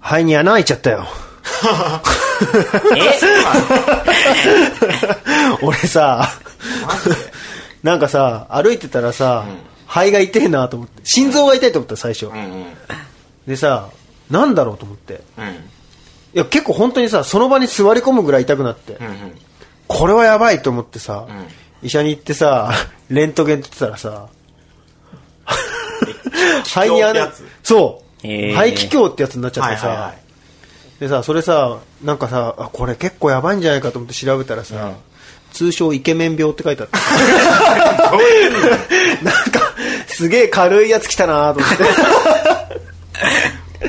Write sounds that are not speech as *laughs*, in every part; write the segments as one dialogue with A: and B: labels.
A: 肺に穴開いちゃった
B: *laughs*
A: よ。
C: *laughs*
A: 俺さ、 *laughs* なんかさ、歩いてたらさ、肺が痛えなと思って、心臓が痛いと思った最初。
B: うんうん
A: でさ、なんだろうと思って。
B: うん
A: いや、結構本当にさ、その場に座り込むぐらい痛くなって、
B: うんうん
A: これはやばいと思ってさ、医者に行ってさ、 *laughs* レントゲン撮ってたら
B: *laughs*
A: さ、肺に
B: 気胸って
A: 穴
B: やつ、
A: そう、
C: へー
A: 肺気胸ってやつになっちゃっ
B: は
A: て
B: い
A: さ、
B: はいはい
A: でさ、それさ、なんかさ、あ、これ結構やばいんじゃないかと思って調べたらさ、通称イケメン病って書いてあった。 *laughs* なんか、すげえ軽いやつ来たなと思
B: *laughs*
A: って。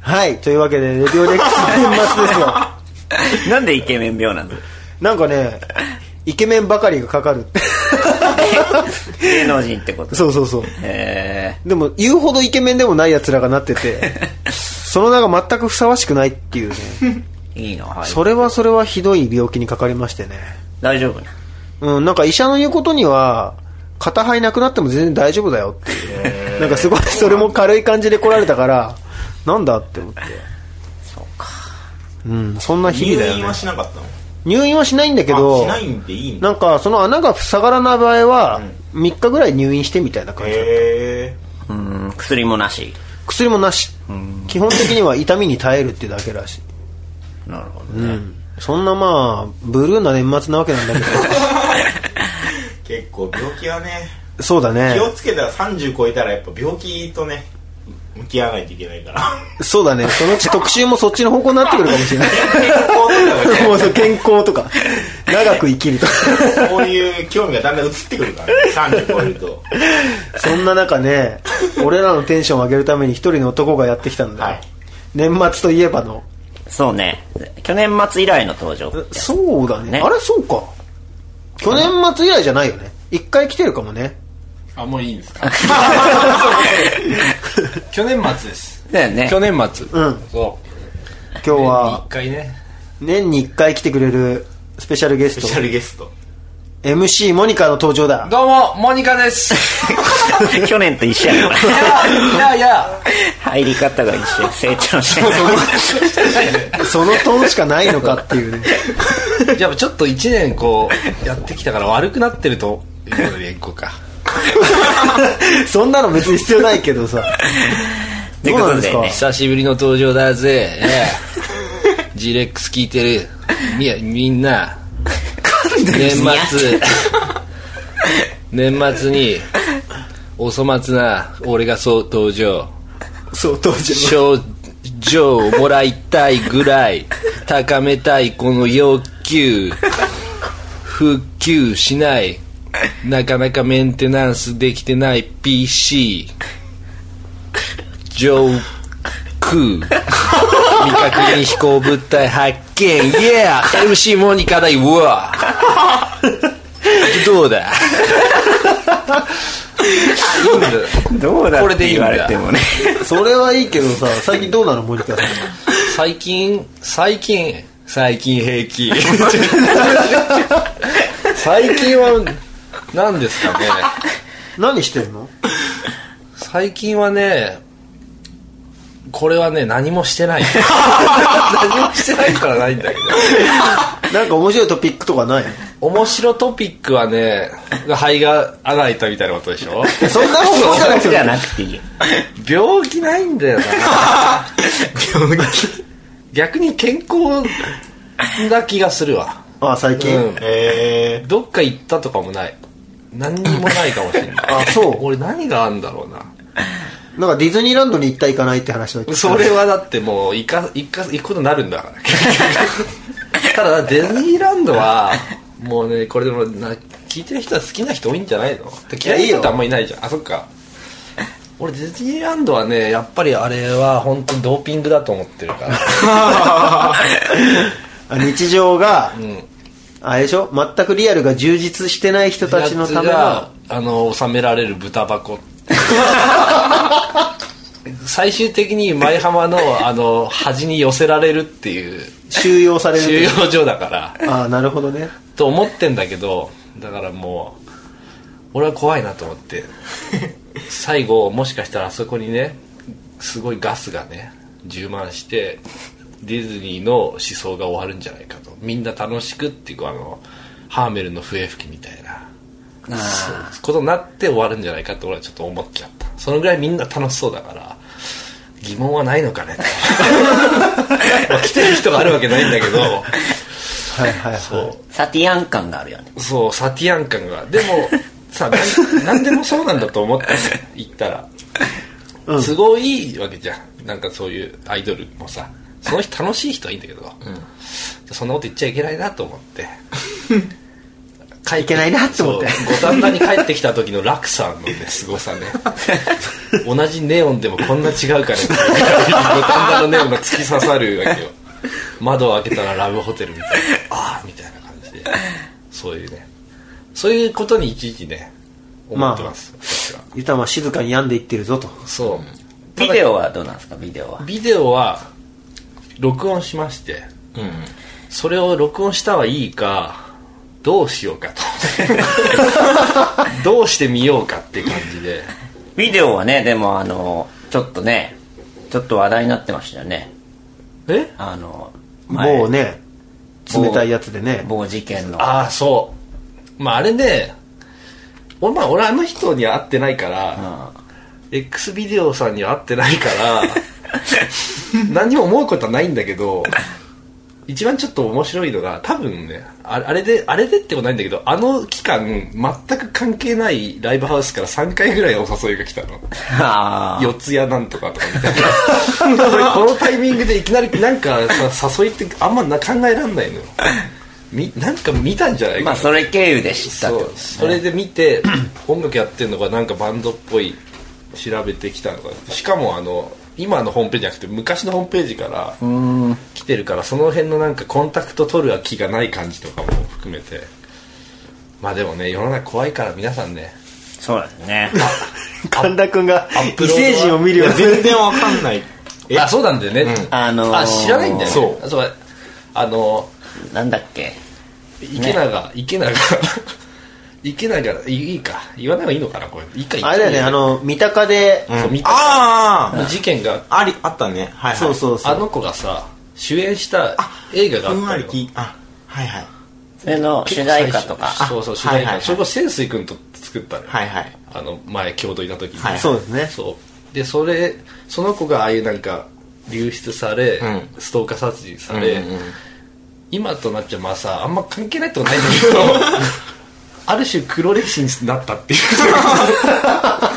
A: はい、というわけで、レディオレックス年末ですよ。
C: なんでイケメン病なんですか
A: なんかね、イケメンばかりがかかるって。 *laughs*
C: 芸能人ってこと
A: そうそうそう。
C: え
A: でも、言うほどイケメンでもない奴らがなってて、
B: *laughs*
A: その名が全くふさわしくないっていうね。
C: ー、いいの、はい、
A: それはそれはひどい病気にかかりましてね。
C: 大丈夫な
A: うん、なんか医者の言うことには、片肺なくなっても全然大丈夫だよって
B: *laughs*
A: いう。なんかすごい、それも軽い感じで来られたから、なんだって思って。そうか。うん、そんな日々だ
B: 入
A: よ
B: 院は
A: ね。
B: しなかったの
A: 入院はしないんだけど、
B: あしないんでいいんだ
A: なんかその穴が塞がらない場合は、3日ぐらい入院してみたいな感じだった
B: へえ
C: うーん薬もなし
A: 薬もなし基本的には痛みに耐えるってだけらしい、
C: なるほど
A: う
C: ね、
A: ん、そんなまあブルーな年末なわけなんだけ
B: *laughs* 結構病気はね
A: どそうだね
B: 気をつけたら30超えたらやっぱ病気とね向き合わないといけないから
A: そうだねそのうち特集もそっちの方向になってくるかもしれない
B: 健康とかね
A: も *laughs* うそう健康とか長く生きる
B: *laughs*
A: とか
B: そういう興味がだんだん移ってくるから、ね、30超えると
A: そんな中ね俺らのテンションを上げるために一人の男がやってきたんだよ、
B: はい
A: 年末といえばの
C: そうね去年末以来の登場
A: そうだね
C: ね
A: あれそうか去年末以来じゃないよね一回来てるかもね
D: あもういいんですか *laughs* 去年末です
C: だよね
D: 去年末
A: うん
D: そう
A: 今日は
D: 一回ね
A: 年に一回来てくれるスペシャルゲス
B: ス
A: ト
B: ペシャルゲスト
A: MC モニカの登場
D: *laughs*
A: だ
D: どうもモニカです
C: *laughs* 去年と一緒やか
D: いやいやいや
C: ら入り方が一
A: *laughs*
C: 緒成長してない
A: そのトーンしかないのかっていうね
D: やっぱちょっと1年こうやってきたから悪くなってるということでいこうか
A: そんなの別に必要ないけどさ
C: て
A: どう
C: こ
A: な
C: と
A: んで
C: ですね
A: か
D: 久しぶりの登場だぜ、ジレックス聞いてるみやみんな年末年末にお粗末な俺がそう登場
A: そう登場
D: 賞状をもらいたいぐらい高めたいこの要求復旧しないなかなかメンテナンスできてない PC 上空未確認飛行物体発見 YeahMC モニカだいうわどうだ *laughs* いいんだ
C: どうだ
D: こ
C: っ
D: れ
C: て
D: でいい
C: 言
D: ん
C: わ
D: だ
C: れてもね
A: *laughs* それはいいけどさ最近どうなのモニカさん
D: 最近最近最近平 *laughs* 気最近は何ですかね
A: 何してんの
D: 最近はねこれはね何もしてない何もしてないからないんだけど
A: なんか面白いトピックとかない
D: 面白トピックはね肺が穴開いたみたいなことでしょ
A: そんなことじゃなくて
C: じ
A: も
C: ゃなくていいよ
D: 病気ないんだよな *laughs* 病気逆に健康な気がするわ
A: あ最近、
D: うん
B: え
D: どっか行ったとかもない何にもないかもしれない
A: あそう
D: 俺何があるんだろうな
A: なんかディズニーランドに行った行かないって話だった
D: それはだってもう行か行か行くことになるんだから *laughs* ただディズニーランドはもうねこれでもな聞いてる人は好きな人多いんじゃないの嫌いな人ってあんまいないじゃんあそっか俺ディズニーランドはねやっぱりあれは本当にドーピングだと思ってるから
A: あ日常が、
D: ん
A: あれでしょ全くリアルが充実してない人たちのため
D: や
A: の
D: つがあの収められる豚箱最終的に舞浜のあの端に寄せられるっていう
A: 収容され
D: 収
A: る
D: 容所だから
A: ああなるほどね
D: と思ってんだけどだからもう俺は怖いなと思って最後もしかしたらあそこにねすごいガスがね充満してディズニーの思想が終わるんじゃないかとみんな楽しくっていうかあのハーメルの笛吹きみたいな
C: あ
D: ことになって終わるんじゃないかって俺はちょっと思っちゃったそのぐらいみんな楽しそうだから疑問はないのかねとまあ来てる人があるわけないんだけど
A: はいはいはい
D: そう
C: ーサティアン感があるよね
D: そうサティアン感がでも
A: *laughs*
D: さ何でもそうなんだと思って行ったら、都合いいわけじゃんなんかそういうアイドルもさその人楽しい人はいいんだけど、そんなこと言っちゃいけないなと思って帰って
A: *laughs* いけないなと思って
D: そう五反田に帰ってきた時の落さんのね
A: *laughs*
D: 凄さね同じネオンでもこんな違うかねっていう五反田のネオンが突き刺さるわけよ窓を開けたらラブホテルみたいなああみたいな感じでそういうねそういうことにいちいちね思ってます、私は
A: ユタは静かに病んでいってるぞと
D: そう
C: ビデオはどうなんですかビデオは
D: ビデオは録音しまして
B: うん
D: それを録音したはいいかどうしよう
B: *laughs*
D: かとどうしてみようかって感じで
C: ビデオはねでもあのちょっとねちょっと話題になってましたよね
D: え
C: あの前
A: もうね冷たいやつでね
C: 某事件の
D: ああそうまああれね俺,、まあ、俺あの人には会ってないから、X ビデオさんには会ってないから何も思うことはないんだけど一番ちょっと面白いのが多分ねああれであれでってことないんだけどあの期間全く関係ないライブハウスから3回ぐらいお誘いが来たの
C: あー
D: 四谷なんとかとかみたいな *laughs* それこのタイミングでいきなりなんかさ誘いってあんまな考えらんないのよみなんか見たんじゃないかな、
C: まあそれ経由で知ったって
D: そ
C: こと
D: う
C: です
D: それで見て *clears throat* 音楽やってるのがなんかバンドっぽい調べてきたのかしかもあの今のホームページじゃなくて昔のホームページから来てるからその辺のなんかコンタクト取る気がない感じとかも含めてまあでもね世の中怖いから皆さんね
C: そうですね
A: *laughs* 神田君が
D: ップ
A: 異
D: ロードは
A: 星人を見るように
B: 全然わかんないえ
D: *laughs* あそうなんだよね、
C: あのー
D: あ知らないんだよね
B: そう
D: あそうあの
C: なんだっけ
D: 池永、池永池永いいいか言わない方がいいのかなこれいいか言っちゃ
A: あれだよねあの三鷹で
D: そう見た
B: あ
D: 事件が
B: あありあったねはいはい
A: そうそうそ
D: あ
A: う
D: の子がさ主演した映画があ
B: ふ
D: っ
B: んわ
D: た
B: り
D: よ
B: 聞いあはいはい
C: それの主題歌とか
D: あそうそう主題
B: はいはいは
D: 歌
B: い
D: それこそ潜水君と作ったのよ
B: はいはい
D: あの前共同いた時に
B: はい
A: そうですね
D: そうでそれその子がああいうなんか流出され、
B: うん
D: ストーカー殺人され、
B: うんうん
D: 今となっちゃまあさあんま関係ないってことないんだけ
B: *laughs*
D: どある種黒歴史になったっていうまあ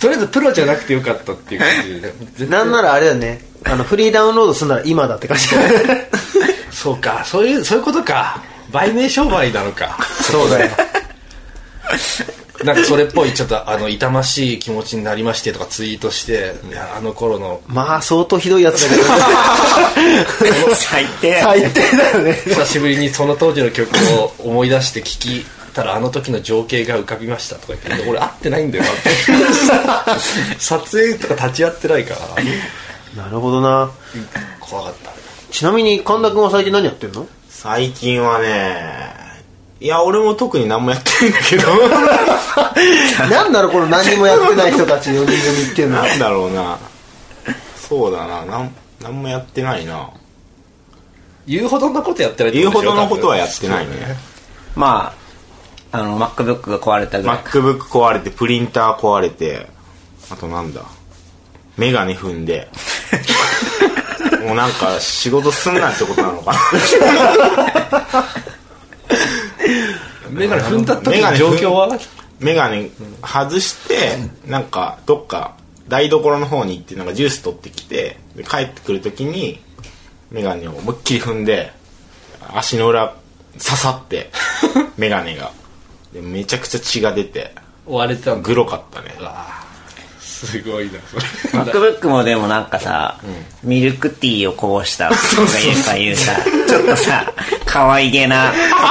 D: とりあえずプロじゃなくてよかったっていう感
B: *laughs*
D: じで絶対
A: なんならあれだよねあのフリーダウンロードするなら今だって感じ
D: そうかそういうそういうことか売名商売なのか
A: そうだよ
D: なんかそれっぽいちょっとあの痛ましい気持ちになりましてとかツイートしていやあの頃の
A: まあ相当ひどいやつだけど
D: *laughs*
C: 最低
A: 最低だよね
D: 久しぶりにその当時の曲を思い出して聞きたらあの時の情景が浮かびましたとか言って俺会ってないんだよなって
B: *laughs*
D: 撮影とか立ち会ってないから
A: なるほどな
D: 怖かった
A: ちなみに神田君は最近何やってんの
B: 最近はねいや俺も特に何もやってないんだけど
A: なんだろうこの何にもやってない人たち4人組って *laughs* いうのは
B: なんだろうなそうだななん何もやってないな
D: 言うほどのことやってないって
B: 言う
D: こ
B: ほ
D: とでしょ
B: どのことはやってないね
C: まああの MacBook が壊れたぐらい
B: MacBook 壊れてプリンター壊れてあとなんだメガネ踏んでもうなんか仕事すんなってことなのか
D: 多分メガネ踏んだ時
B: メガ
D: の
B: ネ
D: 状
B: 踏ん
D: 況は
B: なメガネ外してなんかどっか台所の方に行ってなんかジュース取ってきてで帰ってくるときにメガネを思いっきり踏んで足の裏刺さってメガネがでめちゃくちゃ血が出て
D: 追われてたんだ
B: グロかったね
D: すごいなそれ
C: MacBook もでもなんかさ、ミルクティーをこぼしたとかいうさ、いうさ、ちょっとさ、可愛げな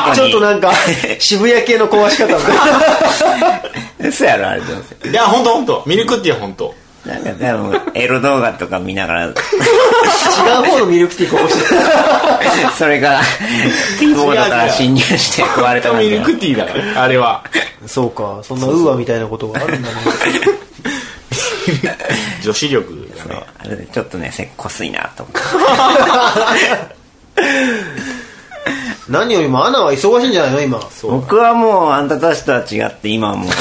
C: と
A: ち
C: こ
A: ょ
C: に。
A: っとなんか渋谷系の壊し方だ
C: *laughs* 嘘やろ、あれどうせ。
B: いや本当本当ミルクティーは本当
C: なんか多分、エロ動画とか見ながら、
D: *laughs*
A: 違う方のミルクティーこぼしてる
C: それが、キーボードから侵入して壊れた感
B: 本当ミ
C: じ
B: ル
C: が。
B: クティーだからあれは
A: そうかそんなウーアみたいなことがあるんだね
B: *laughs* 女子力がが
C: そう
B: ね
C: あれでちょっとねせっこすいなと思って
A: *laughs* 何よりもアナは忙しいんじゃないの今
C: 僕はもうあんたたちとは違って今はもう *laughs*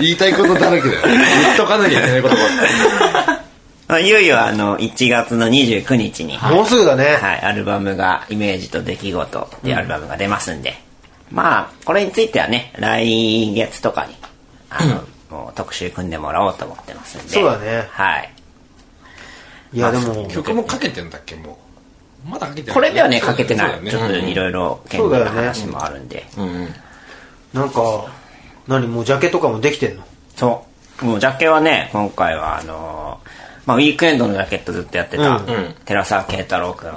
D: 言いたいことだらけだよ。言っとかなきゃいけないことばっかり
C: あいよいよあの1月の29日に、はい
A: もうすぐだね、
C: アルバムが「イメージと出来事」っていうアルバムが出ますんで、まあこれについてはね来月とかにあの、もう特集組んでもらおうと思ってますんで
A: そうだね
C: はい
A: い、やでも
D: 曲もかけてんだっけ、もう。まだかけてない
C: これではねかけてない、
D: そうだね
C: ちょっといろいろ健康な話もあるんでそう,、
A: なんか何もうジャケとかもできてんの
C: もうジャケはね今回はあのーまあ、ウィークエンドのジャケットずっとやってた、
A: うん
B: うん
C: 寺澤慶太郎君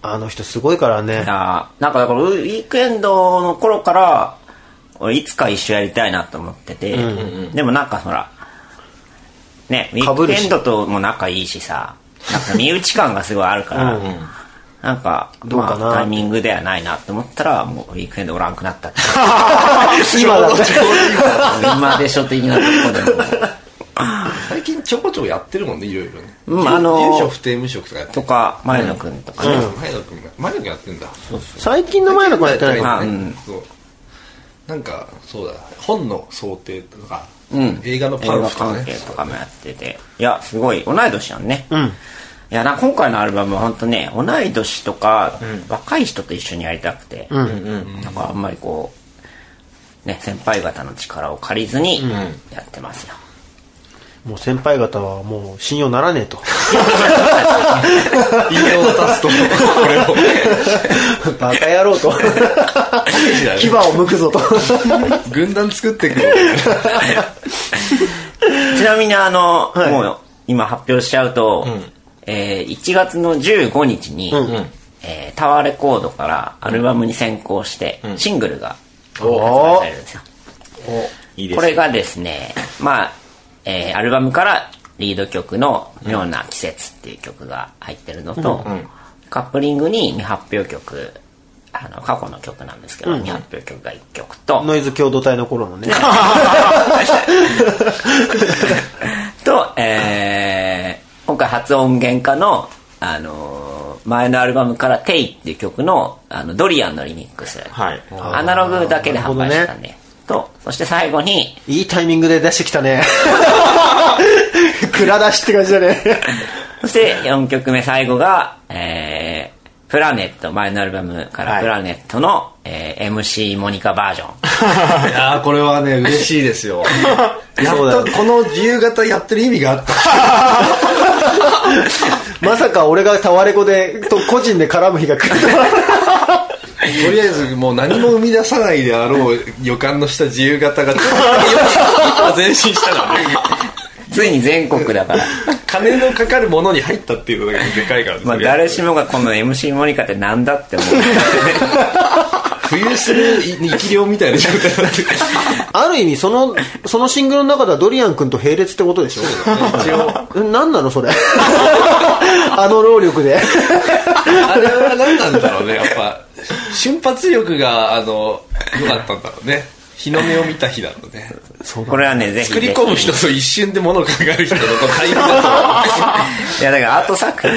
A: あの人すごいから *laughs* ね
C: あーなんかだからウィークエンドの頃から俺いつか一緒やりたいなと思ってて、でもなんかほらねウィー
A: 被
C: ク
A: るし
C: エンドとも仲いいしさなんか身内感がすごいあるから、なんか
A: どうかな
C: まあ、タイミングではないなと思ったらもうウィークエンドおらんくなったって
A: 今だって
C: 今でしょ的なとこでも
D: 最近ちょこちょこやってるもんね、いろいろね。
C: うんあのー
D: 住所不定無職とかやって
C: とか前野君とかね、
D: 前野君が、前野君やってんだ。
A: *laughs* 最近の前の子やってないの
C: あうん
D: そうなんか、そうだ、本の想定とか、
C: うん、
D: 映画のパンフとか
C: 映画関
D: ね
C: 係。とかもやってていやすごい同い年やんねうんいやな今回のアルバムは本当ね同い年とか、若い人と一緒にやりたくて、なんかあんまりこうね先輩方の力を借りずにやってますよ、
A: もう先輩方はもう信用ならねえと
D: 引用を出すと、これを。
A: *laughs* バカ野郎と *laughs* 牙を剥く *laughs* ぞと
D: 軍団作ってくる。
C: ちなみにあの、もう今発表しちゃうと、えー1月の15日に、えータワーレコードからアルバムに先行して、シングルが発売されるんですよ
B: いいです
C: これがですね、まあ、えーアルバムからリード曲の「妙な季節」っていう曲が入ってるのと、カップリングに未発表曲あの過去の曲なんですけど、未発表曲が1曲と、
A: ノイズ共同体の頃のね
C: と、えー今回初音源化の、あのー前のアルバムから「テイ」っていう曲のあのドリアンのリミックス、
B: はい
C: アナログだけで販売してたんで、とそして最後に
A: いいタイミングで出してきた *laughs* ね蔵出しって感じだね
C: そして4曲目最後が、えー、プラネット、前のアルバムか
B: は
C: ら
B: い
C: プラネットの、えー MC モニカバージョン。
D: いやーこれはね、嬉しいですよ。やっ
A: そうだよ
D: とこの自由形やってる意味があった。
A: まさか俺がタワレコでと個人で絡む日が来るとは
D: とりあえずもう何も生み出さないであろう予感のした自由形が前進したからね
C: ついに全国だから。
D: 金のかかるものに入ったっていうことがでかいからね
C: まあ
D: それは
C: 誰しもがこの MC モニカってなんだって思う。
D: 浮遊する生き量みたいな状態になってる
A: ある意味そ *laughs* のそのシングルの中ではドリアン君と並列ってことでしょ
D: 一応
A: え何なのそれ *laughs* あの労力で
D: あれは何なんだろうねやっぱ瞬発力があの良かったんだろうね日の目を見た日だろうね
C: これはね、ぜひぜ
D: 作
C: ひ。
D: り込む人と一瞬で物を考える人のこの対比だ
C: いや、だからアート作品。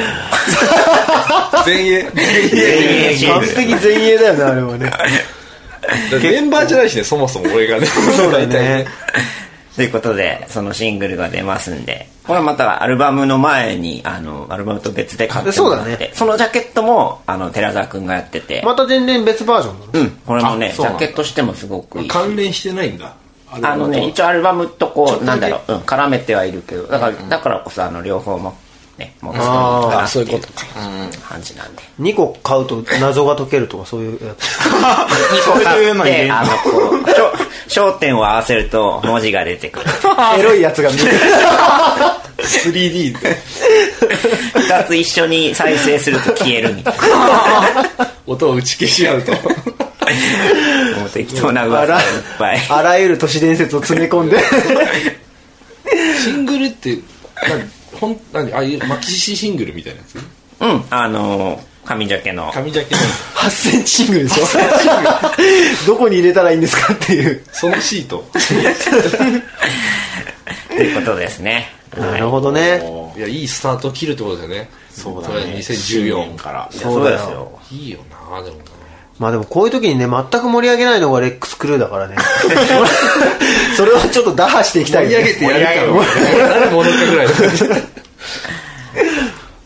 D: と前衛
C: *laughs* 全員シン
A: 完
C: グル
A: 璧前衛だよねあれはね
D: メンバーじゃないしねそもそも俺がね
A: そうだよね
C: ということで、そのシングルが出ますんで、これはまたアルバムの前に、あの、アルバムと別で買ってもらって、
A: そうだ
C: そ,、
A: ね
C: のジャケットも、あの、寺澤くんがやってて、
A: また全然別バージョンなの
C: うん、これもね、
D: あ
C: ジ
D: そうな
C: ャ
D: んだ
C: ケットしてもすごくいいし。
D: 関連してないんだ
C: あのね、一応アルバムとこう、なんだろう、うん、絡めてはいるけど、だから、だからこそ、あの、両方も、ね、持つといいかなっていう感じなんで。
A: 2個買うと謎が解けるとかそういうやつ
B: そういうの入れ
C: で、
B: る
C: あの、こう、しょ焦点を合わせると文字が出てくる。
A: エロいやつが見える
D: 3D で
C: 二つ一緒に再生すると消えるみたい
D: 音を打ち消し合うと
C: な。もう適当な
A: あ
C: 噂
A: ら
C: がいっぱい。
A: あらゆる都市伝説を詰め込んで
D: シングルって何ほん何ああいうマキシシングルみたいなやつ
C: うん、あの、髪ジャケの。
D: 髪ジャケの
A: 8センチシングルでしょどこに入れたらいいんですかっていう
D: そのシート
C: ということですね。
A: なるほどね。
B: おー
D: いやいいスタートを切るってことだよね
B: そうだね
D: 2014
B: 年から
C: いや
A: そうだよ
C: そうですよ。
D: いいよなでもな
A: まあでもこういう時にね、全く盛り上げないのがレックスクルーだ *laughs* からね。それをちょっと打破していきたい、ね。
D: るから誰も踊ったぐらいだ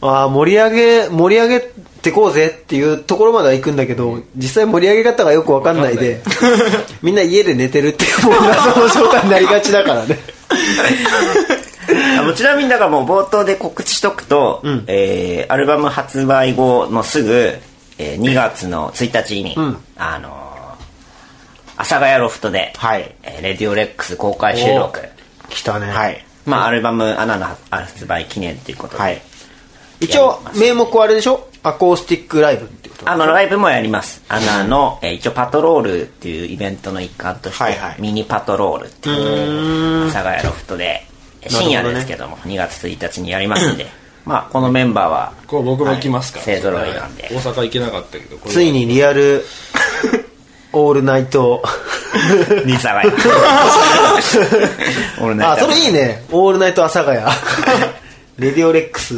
A: ああ、盛り上げ、盛り上げてこうぜっていうところまでは行くんだけど、実際盛り上げ方がよくわかんないで、みんな家で寝てるっていう、もう謎の状態になりがちだからね。
C: あもうちなみにだからもう冒頭で告知しとくと、えーアルバム発売後のすぐ、えー2月の1日に、あのー阿佐ヶ谷ロフトで、
B: はい
C: えーレディオレックス公開収録、
A: *laughs* 来たね。
B: はい
C: まあ、アルバム「アナの発売記念ということで、
B: はい
A: 一応、名目はあれでしょアコースティックライブってこと。
C: あのライブもやりますアナの、えー一応パトロールっていうイベントの一環として、
B: はいはい
C: ミニパトロールっていう阿佐ヶ谷ロフトでえー深夜
A: なるほどね
C: ですけども2月1日にやりますん
B: *clears throat*
C: でまあこのメンバーは
D: こう僕も来ますから
C: はい勢揃いなんで
D: 大阪行けなかったけどこれ
A: ついにリア *laughs* ル、オールナイト。
C: 兄さんが *laughs* 俺ね
A: あ、それいいね。オールナイト阿佐ヶ *laughs* 谷。レディオレックス。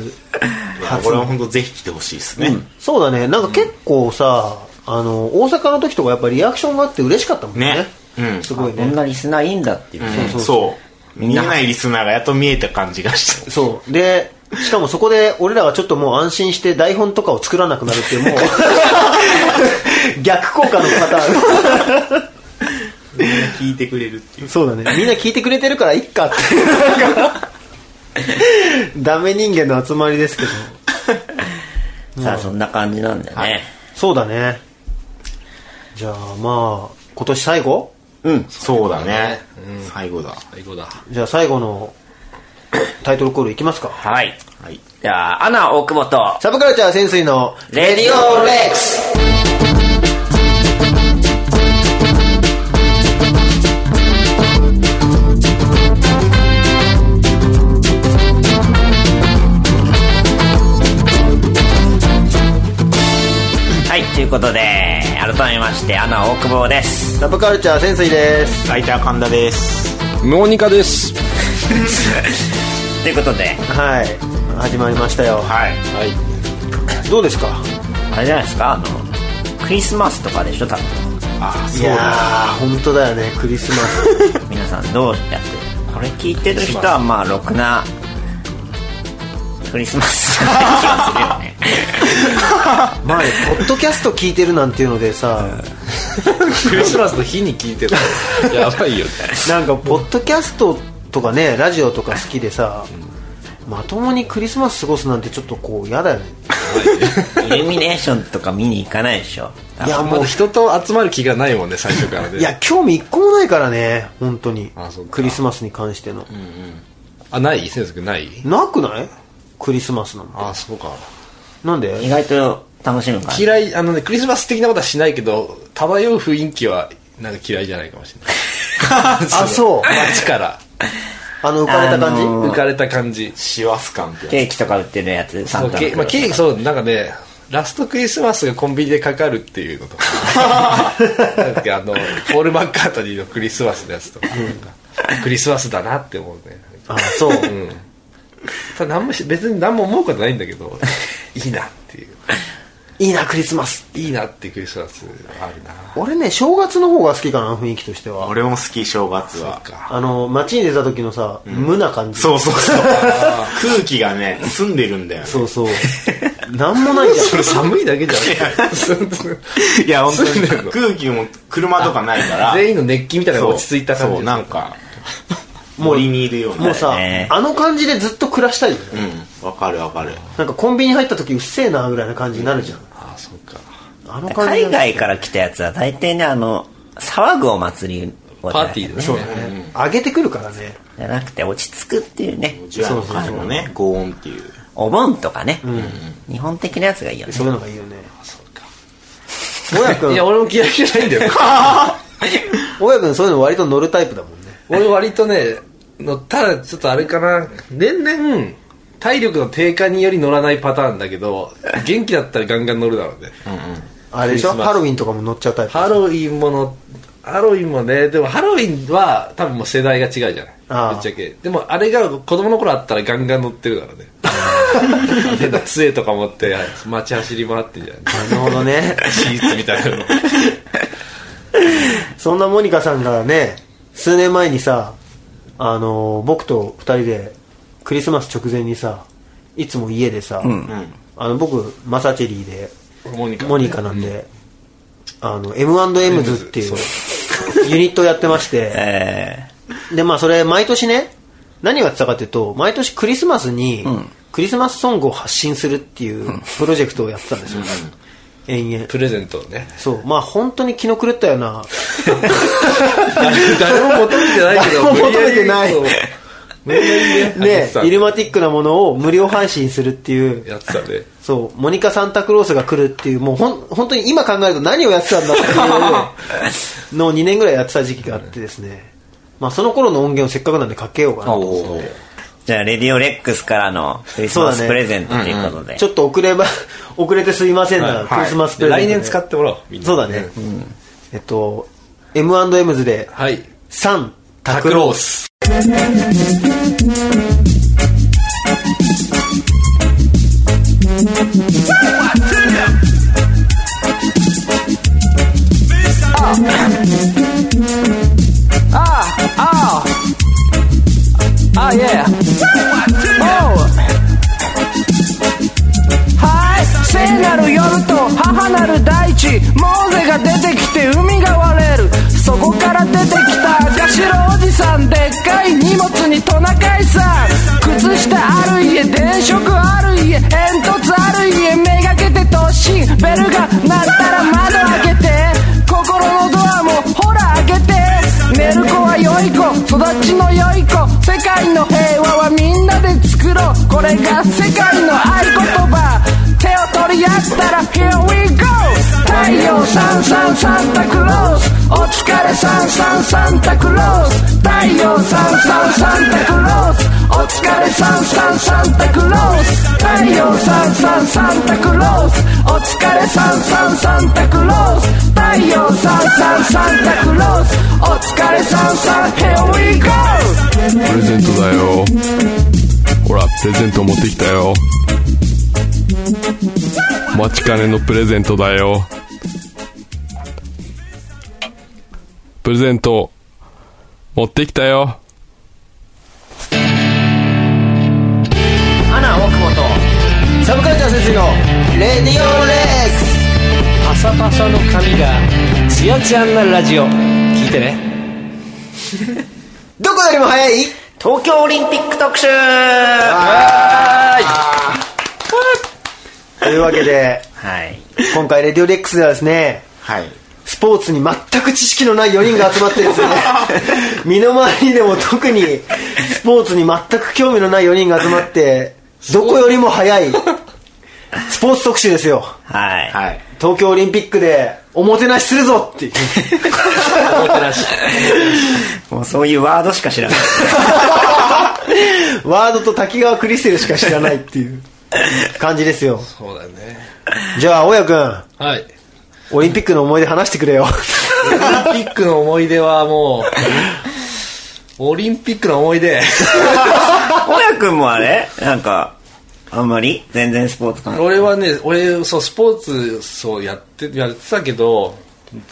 A: 初
B: これは本当ぜひ来てほしいですね、
A: そうだね。なんか結構さ、あの、大阪の時とかやっぱリアクションがあって嬉しかったもんね。
B: ねうん
A: すごい
C: こん
A: ね。
C: なリスナーいいんだっていう、
B: うんそう見えないリスナーがやっと見えた感じがし
A: そう。で、しかもそこで俺らがちょっともう安心して台本とかを作らなくなるっていう、も *laughs* う、逆効果のパター
B: たみんな聞いてくれるっていう
A: ン。 *laughs* そうだね。みんな聞いてくれてるからいっかっていう。なんか *laughs* ダメ人間の集まりですけど。
C: さあそんな感じなんだよね、
A: そうだね。じゃあまあ、今年最後
C: うん
B: そうだね、最後だ
D: 最高だ
A: じゃあ最後のタイトルコールいきますか。
C: はい
B: はい
C: じゃあアナ大久保と
A: サブカルチャー潜水の
C: レディオレックスはい、ということで、改めまして、アナ大久保です。
A: サブカルチャー潜水です。
B: ライター神田です
D: 脳ニカです
C: ということで、
A: はい。始まりましたよ。
B: はい
D: はい
A: どうですか
C: あれじゃないですか、あの、クリスマスとかでしょ、 *laughs* 多分。
B: ああ
A: い
B: そう
A: や
B: だ
A: ー、本当だよね、クリスマス。
C: 皆さんどうやってこれ聞いてる人はまあろくなクリスマスじゃない気がするよね
A: 前、ポッドキャスト聞いてるなんていうのでさ、
D: クリスマスの日に聞いてた *laughs* やばいよね
A: なんか、ポッドキャストとかね、ラジオとか好きでさ、まともにクリスマス過ごすなんてちょっとこう、嫌だよね。
C: *laughs* イルミネーションとか見に行かないでしょ
A: いや、
D: ま
A: もう
D: だ、人と集まる気がないもんね最初からね
A: いや、興味一個もないからね、本当に
D: あそう。か
A: クリスマスに関しての。
D: あない先生ない
A: なくないクリスマスなの。
D: あそうか
A: なん
C: 意
A: で
C: 外と楽しむから
D: 嫌いあのねクリスマス的なことはしないけど漂う雰囲気はなんか嫌いじゃないかもしれない
A: あそう
D: 街から
A: あの、浮かれた感じ
C: あのー
D: 浮かれた感じ
B: 師走感ってや
C: ケーキとか売ってるやつサ
D: そ
C: ン
D: う
C: タ
D: けまあ、ケーキそうなんかねラストクリスマスがコンビニでかかるっていうのとかなんかあのポール・マッカートニーのクリスマスのやつとかなんかクリスマスだなって思うね
A: あ、そう。
D: ただ何もし別に何も思うことないんだけどいいなっていう
A: いいな、クリスマス。
D: いいなっていうクリスマスあるな
A: 俺ね、正月の方が好きかな、雰囲気として
B: つ
A: は。
B: 俺も好き正月
D: そ
B: は
D: っか
A: あの、街に出た時のさ、無な感じ。
B: そうそうそう *laughs* 空気がね澄んでるんだよね
A: そうそう。なんもないじ
D: それ寒いだけじゃない
B: いや本当
D: 澄んでる
B: に *laughs*
D: の
B: 空気も車とかないから
D: *laughs* 全員の熱気みたいなのが落ち着いた感
B: そ
D: じ
B: うそうなんか
A: もう
B: 森にいるよう
D: *laughs*
A: ゃん。
B: な
A: もうさ、
C: ね
A: あの感じでずっと暮らしたいよね。
B: うんわかるわかる
A: なんかコンビニ入った時うっせえな、ぐらいな感じになるじゃん。
D: あそうか
A: あの感じ。
C: 海外から来たやつは大体ねあの騒ぐお祭りを
D: パーティーで
C: じ
D: ね
A: 上げてくるからね。
C: ゃなくて落ち着くっていうね
B: ジュラの会のねご音っていう
C: お盆とかね、日本的なやつがいいよね
A: そういうのがいいよね。
D: そうか
A: 大家
D: い
A: 君
D: や、俺も嫌いじゃないんだよ
A: 大家君そういうの割と乗るタイプだもんね。
D: *laughs* 俺割とねのただちょっとあれかな年々体力の低下により乗らないパターンだけど元気だったらガンガン乗るだろうね
A: あれでしょ
D: クリスマス
A: ハロウィンとかも乗っちゃうタイプ。
D: ハロウィンものハロウィンもねでもハロウィンは多分もう世代が違うじゃない
A: ああ
D: ぶっちゃけでもあれが子供の頃あったらガンガン乗ってるか
A: *laughs*
D: らね変な杖とか持って街走り回ってんじゃん
A: なるほどね。
D: シーツみたいなの
A: そんなモニカさんがね、数年前にさ、あの、僕と二人で、クリスマス直前にさ、いつも家でさ、
C: ん
A: あの僕、マサチェリーで、
D: モニカ
A: モニカなんで、あの、M&M ズっていう、ユニットをやってま *laughs* して、
C: え
A: で、まあそれ、毎年ね、何をやってたかというと、毎年クリスマスに、クリスマスソングを発信するっていうプロジェクトをやってたんですよ。延々。
D: プレゼントをね
A: そう、まあ本当に気の狂ったような、
D: 誰も求めてな
A: *laughs*
D: いけ
A: 誰
D: ど
A: も求めてない
D: 無理やりそう無理やり
A: ね
D: 外した、
A: イルマティックなものを無料配信するっていう、
D: やってたね
A: そう、モニカ・サンタクロースが来るっていう、もうほん、本当に今考えると何をやってたんだっていう
D: *laughs*
A: のを2年ぐらいやってた時期があってですね、まあその頃の音源をせっかくなんでかけようかなと思って
C: ーじゃあ、レディオレックスからのクリス
A: そう
C: マ
A: だ
C: ス
A: ね
C: プレゼントということで。
A: ちょっと遅れば、 *laughs* 遅れてすいませんが、
D: はい
A: クリスマスプレゼント
D: 来
A: で
D: 年使ってもらおうみんな
A: そうだね。えっと、M&M ズで、
D: はい
A: サンタ
D: タ
A: ク
D: ク
A: ロー
D: ロ
A: ス
D: ース
E: はい聖なる夜と母なる大地モーゼが出てきて海が割れるそこから出てきた赤白おじさんでっかい荷物にトナカイさん靴下ある家電飾ある家煙突ある家めがけて突進ベルが鳴ったら窓開けて心のドアもほら開けて寝る子は良い子育ちの良い子世界の平和はみんなで作ろうこれが世界の合言葉手を取り合ったら Here we go 太陽さんさんサンタクロースお疲れさんさんサンタクロース太陽さんさんサンタクロースお疲れさんさんサンタクロース太陽さんさんサンタクロースお疲れさんさんサンタクロース太陽さんさんサンタクロースお疲れさんさん Here we go
F: プレゼントだよほらプレゼント持ってきたよ待ちかねのプレゼントだよプレゼント持ってきたよ
C: アナ大久保と
A: サブカルチャー先生の、レディオレックス
E: パサパサの髪がツヤツヤなラジオ聞い
C: *laughs*
E: てね
A: どこよりも早い
C: 東京オリンピック特集
A: というわけで、
C: はい。
A: 今回、レディオレックスではですね、
B: はい。
A: スポーツに全く知識のない4人が集まって *laughs* ですね、身の回りでも特にスポーツに全く興味のない4人が集まって、どこよりも早いスポーツ特集ですよ。
C: はい。
B: はい。
A: 東京オリンピックでおもてなしするぞ *laughs* っていう。
D: おもてなし
C: もうそういうワードしか知らない。
A: ワードと滝川クリステルしか知らないっていう感じですよ。
D: そうだね
A: じゃあ、大谷
D: はい
A: 君、オリンピックの思い出話してくれよ。
D: オリンピックの思い出はもう、オリンピックの思い出。
C: 親くんもあれなんか、あんまり全然スポーツ感。
D: 俺はね、俺、そう、スポーツ、そう、やって、やってたけど、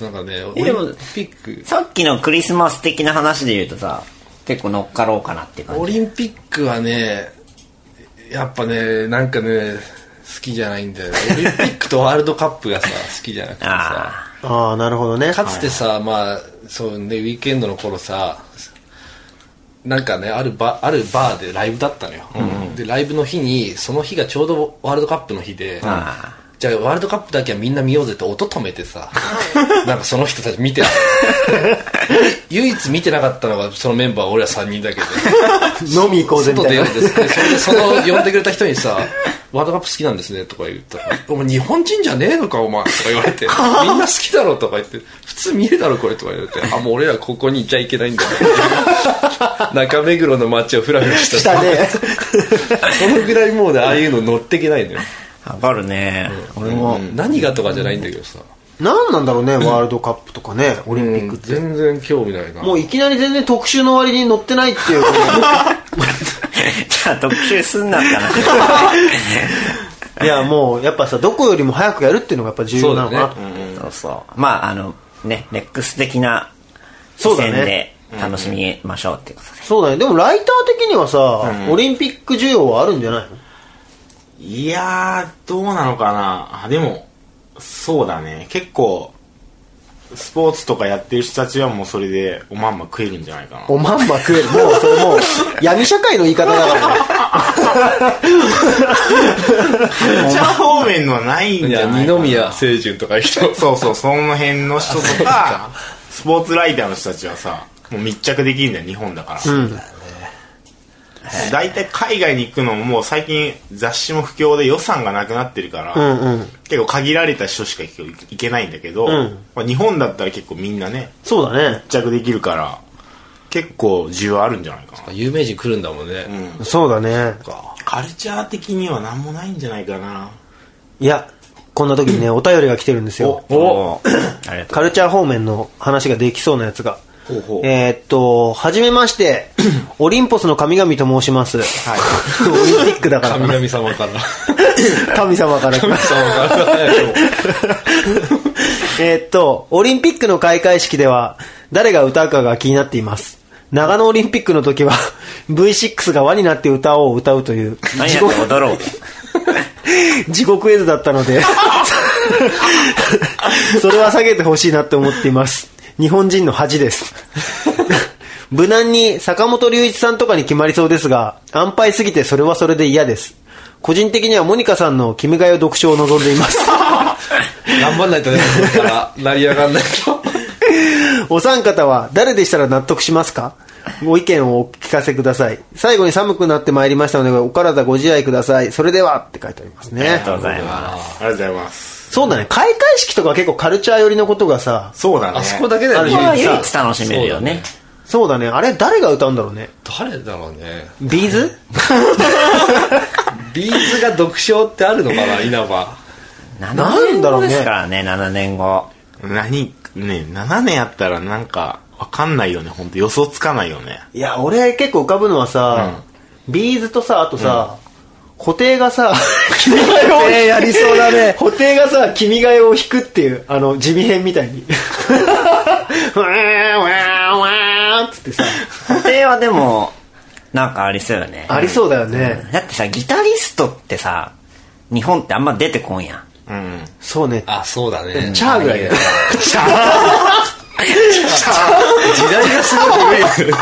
D: なんかね、オリン
C: でも
D: ピック、
C: さっきのクリスマス的な話で言うとさ、結構乗っかろうかなって感
D: オ
C: じ。
D: リンピックはね、やっぱね、なんかね、好きじゃないんだよね。オリンピックとワールドカップがさ、好きじゃなくてさ。
C: あ
A: *laughs* ああ、なるほどね。
D: かつてさ、まあそうねウィークエンドの頃さなんかねあるバあるバーでライブだったのよ、でライブの日にその日がちょうどワールドカップの日で、
C: あ
D: じゃあワールドカップだけはみんな見ようぜって音止めて
C: *laughs*
D: さなんかその人たち見てた唯一見てなかったのがそのメンバー俺ら3人だけで
A: *laughs* 飲み行こうぜみ
D: 外
A: た
D: 出
A: い
D: よ
A: な
D: う。ですってそれでその呼んでくれた人
A: *laughs*
D: にさ「ワールドカップ好きなんですね」とか言ったら「お前日本人じゃねえのかお前」とか言
A: *laughs*
D: われて「みんな好きだろ」とか言って「普通見えだろこれ」とか言われ
A: *laughs*
D: て「あもう俺らここにいちゃいけないんだ」 *laughs* 中目黒の街をフラフラした
A: したね。
D: *laughs* そのぐらいもうねああいうの乗ってけないのよ
C: あ、わかるね。俺も、
D: 何がとかじゃないんだけどさ
A: 何なんだろうね、ワールドカップとかね、オリンピックって。
D: 全然興味ないな
A: もういきなり全然特集の割に乗ってないっていうこ
C: じゃあ特集すんなったな。
A: *laughs* と。いや、もう、やっぱさ、どこよりも早くやるっていうのがやっぱ重要なのかなと。
C: そうそう。まあ、あの、ね、レックス的な
A: そ
C: 視
A: うだね
C: 線で楽しみましょうっていうことで。
A: そうだね。でも、ライター的にはさ、オリンピック需要はあるんじゃないの
B: いやー、どうなのかな。あでも、そうだね。結構、スポーツとかやってる人たちはもうそれでおまんま食えるんじゃないかな。
A: おまんま食える。もう、それもう、闇社会の言い方だからね。
B: お茶方面のはないん
D: い
B: じゃ
D: や
B: ない
D: 二
B: かな。
D: 宮清純とかいう
A: *laughs*
D: 人
B: そうそう、その辺の人とか、スポーツライターの人たちはさ、もう密着できるんだよ、日本だから。
A: ん
B: 大体海外に行くのももう最近雑誌も不況で予算がなくなってるから、
A: うんうん。
B: 結構限られた人しか行け行けないんだけど、
A: ん
B: まあ、日本だったら結構みんなね、
A: *laughs* そうだね。
B: 密着できるから、結構需要あるんじゃないかな。
D: 有名人来るんだもんね、
A: そうだね。
B: カルチャー的には何もないんじゃないかな。
A: いや、こんな時にね、お便りが来てるんですよ。
C: おありがと
A: カルチャー方面の話ができそうなやつが。
B: ほうほう
A: えーっと、はじめま *clears throat* して、オリンポスの神々と申します。 *laughs* オリンピックだから
D: 神
A: な
D: 々様から
A: *laughs* 神様から。
D: 神様からでも
A: えーっと、オリンピックの開会式では、誰が歌うかが気になっています。長野オリンピックの時は、V6 が輪になって歌おう歌うという、
C: う。何やって踊ろう。
A: *laughs* 地獄絵図だったので、 *laughs* それは下げてほしいなって思っています。日本人の恥です。 *laughs* 無難に坂本隆一さんとかに決まりそうですが、安牌すぎてそれはそれで嫌です。個人的にはモニカさんの君が代読書を望んでいます。
D: *laughs*
A: *laughs*
D: 頑張んないとねこれから成り上がんないと
A: お三方は誰でしたら納得しますかご意見をお聞かせください。最後に寒くなってまいりましたので、お体ご自愛ください。それではって書いてあります
C: あり
A: ね
C: が。とうございます。
B: ありがとうございます。
A: そうだね。開会式とか結構カルチャー寄りのことがさ、
B: そうだね。
D: *laughs* あそこだけだよね
C: これは
D: 唯一
C: 唯一楽しめるよね。
A: そうだね。あれ、誰が歌うんだろうね。
D: 誰だろうね
A: ビーズ
D: ビーズが独唱ってあるのかな稲葉
A: な
C: 7
A: ん
C: 年
A: だろう
C: 後
A: ね
C: ですからね、7年後。
B: 何、ね、7年やったらなんか、わかんないよね、ほんと予想つかないよね。
A: いや、俺結構浮かぶのはさ、ビーズとさ、あとさ、布袋が *laughs* さ、君が代を、やりそうだね。 *laughs* 布袋がさ、君が代を弾くっていう、あの、地味編みたい *laughs* に。わーわーわーっつってさ、
C: 固定はでも、 *laughs* なんかありそうよね。
A: *laughs* ありそうだよね。
C: だってさ、ギタリストってさ、日本ってあんま出てこんやん。
B: うん。
A: そうね。
D: あそうだね
A: チャーぐらいだよ。
D: 時代がすごい古い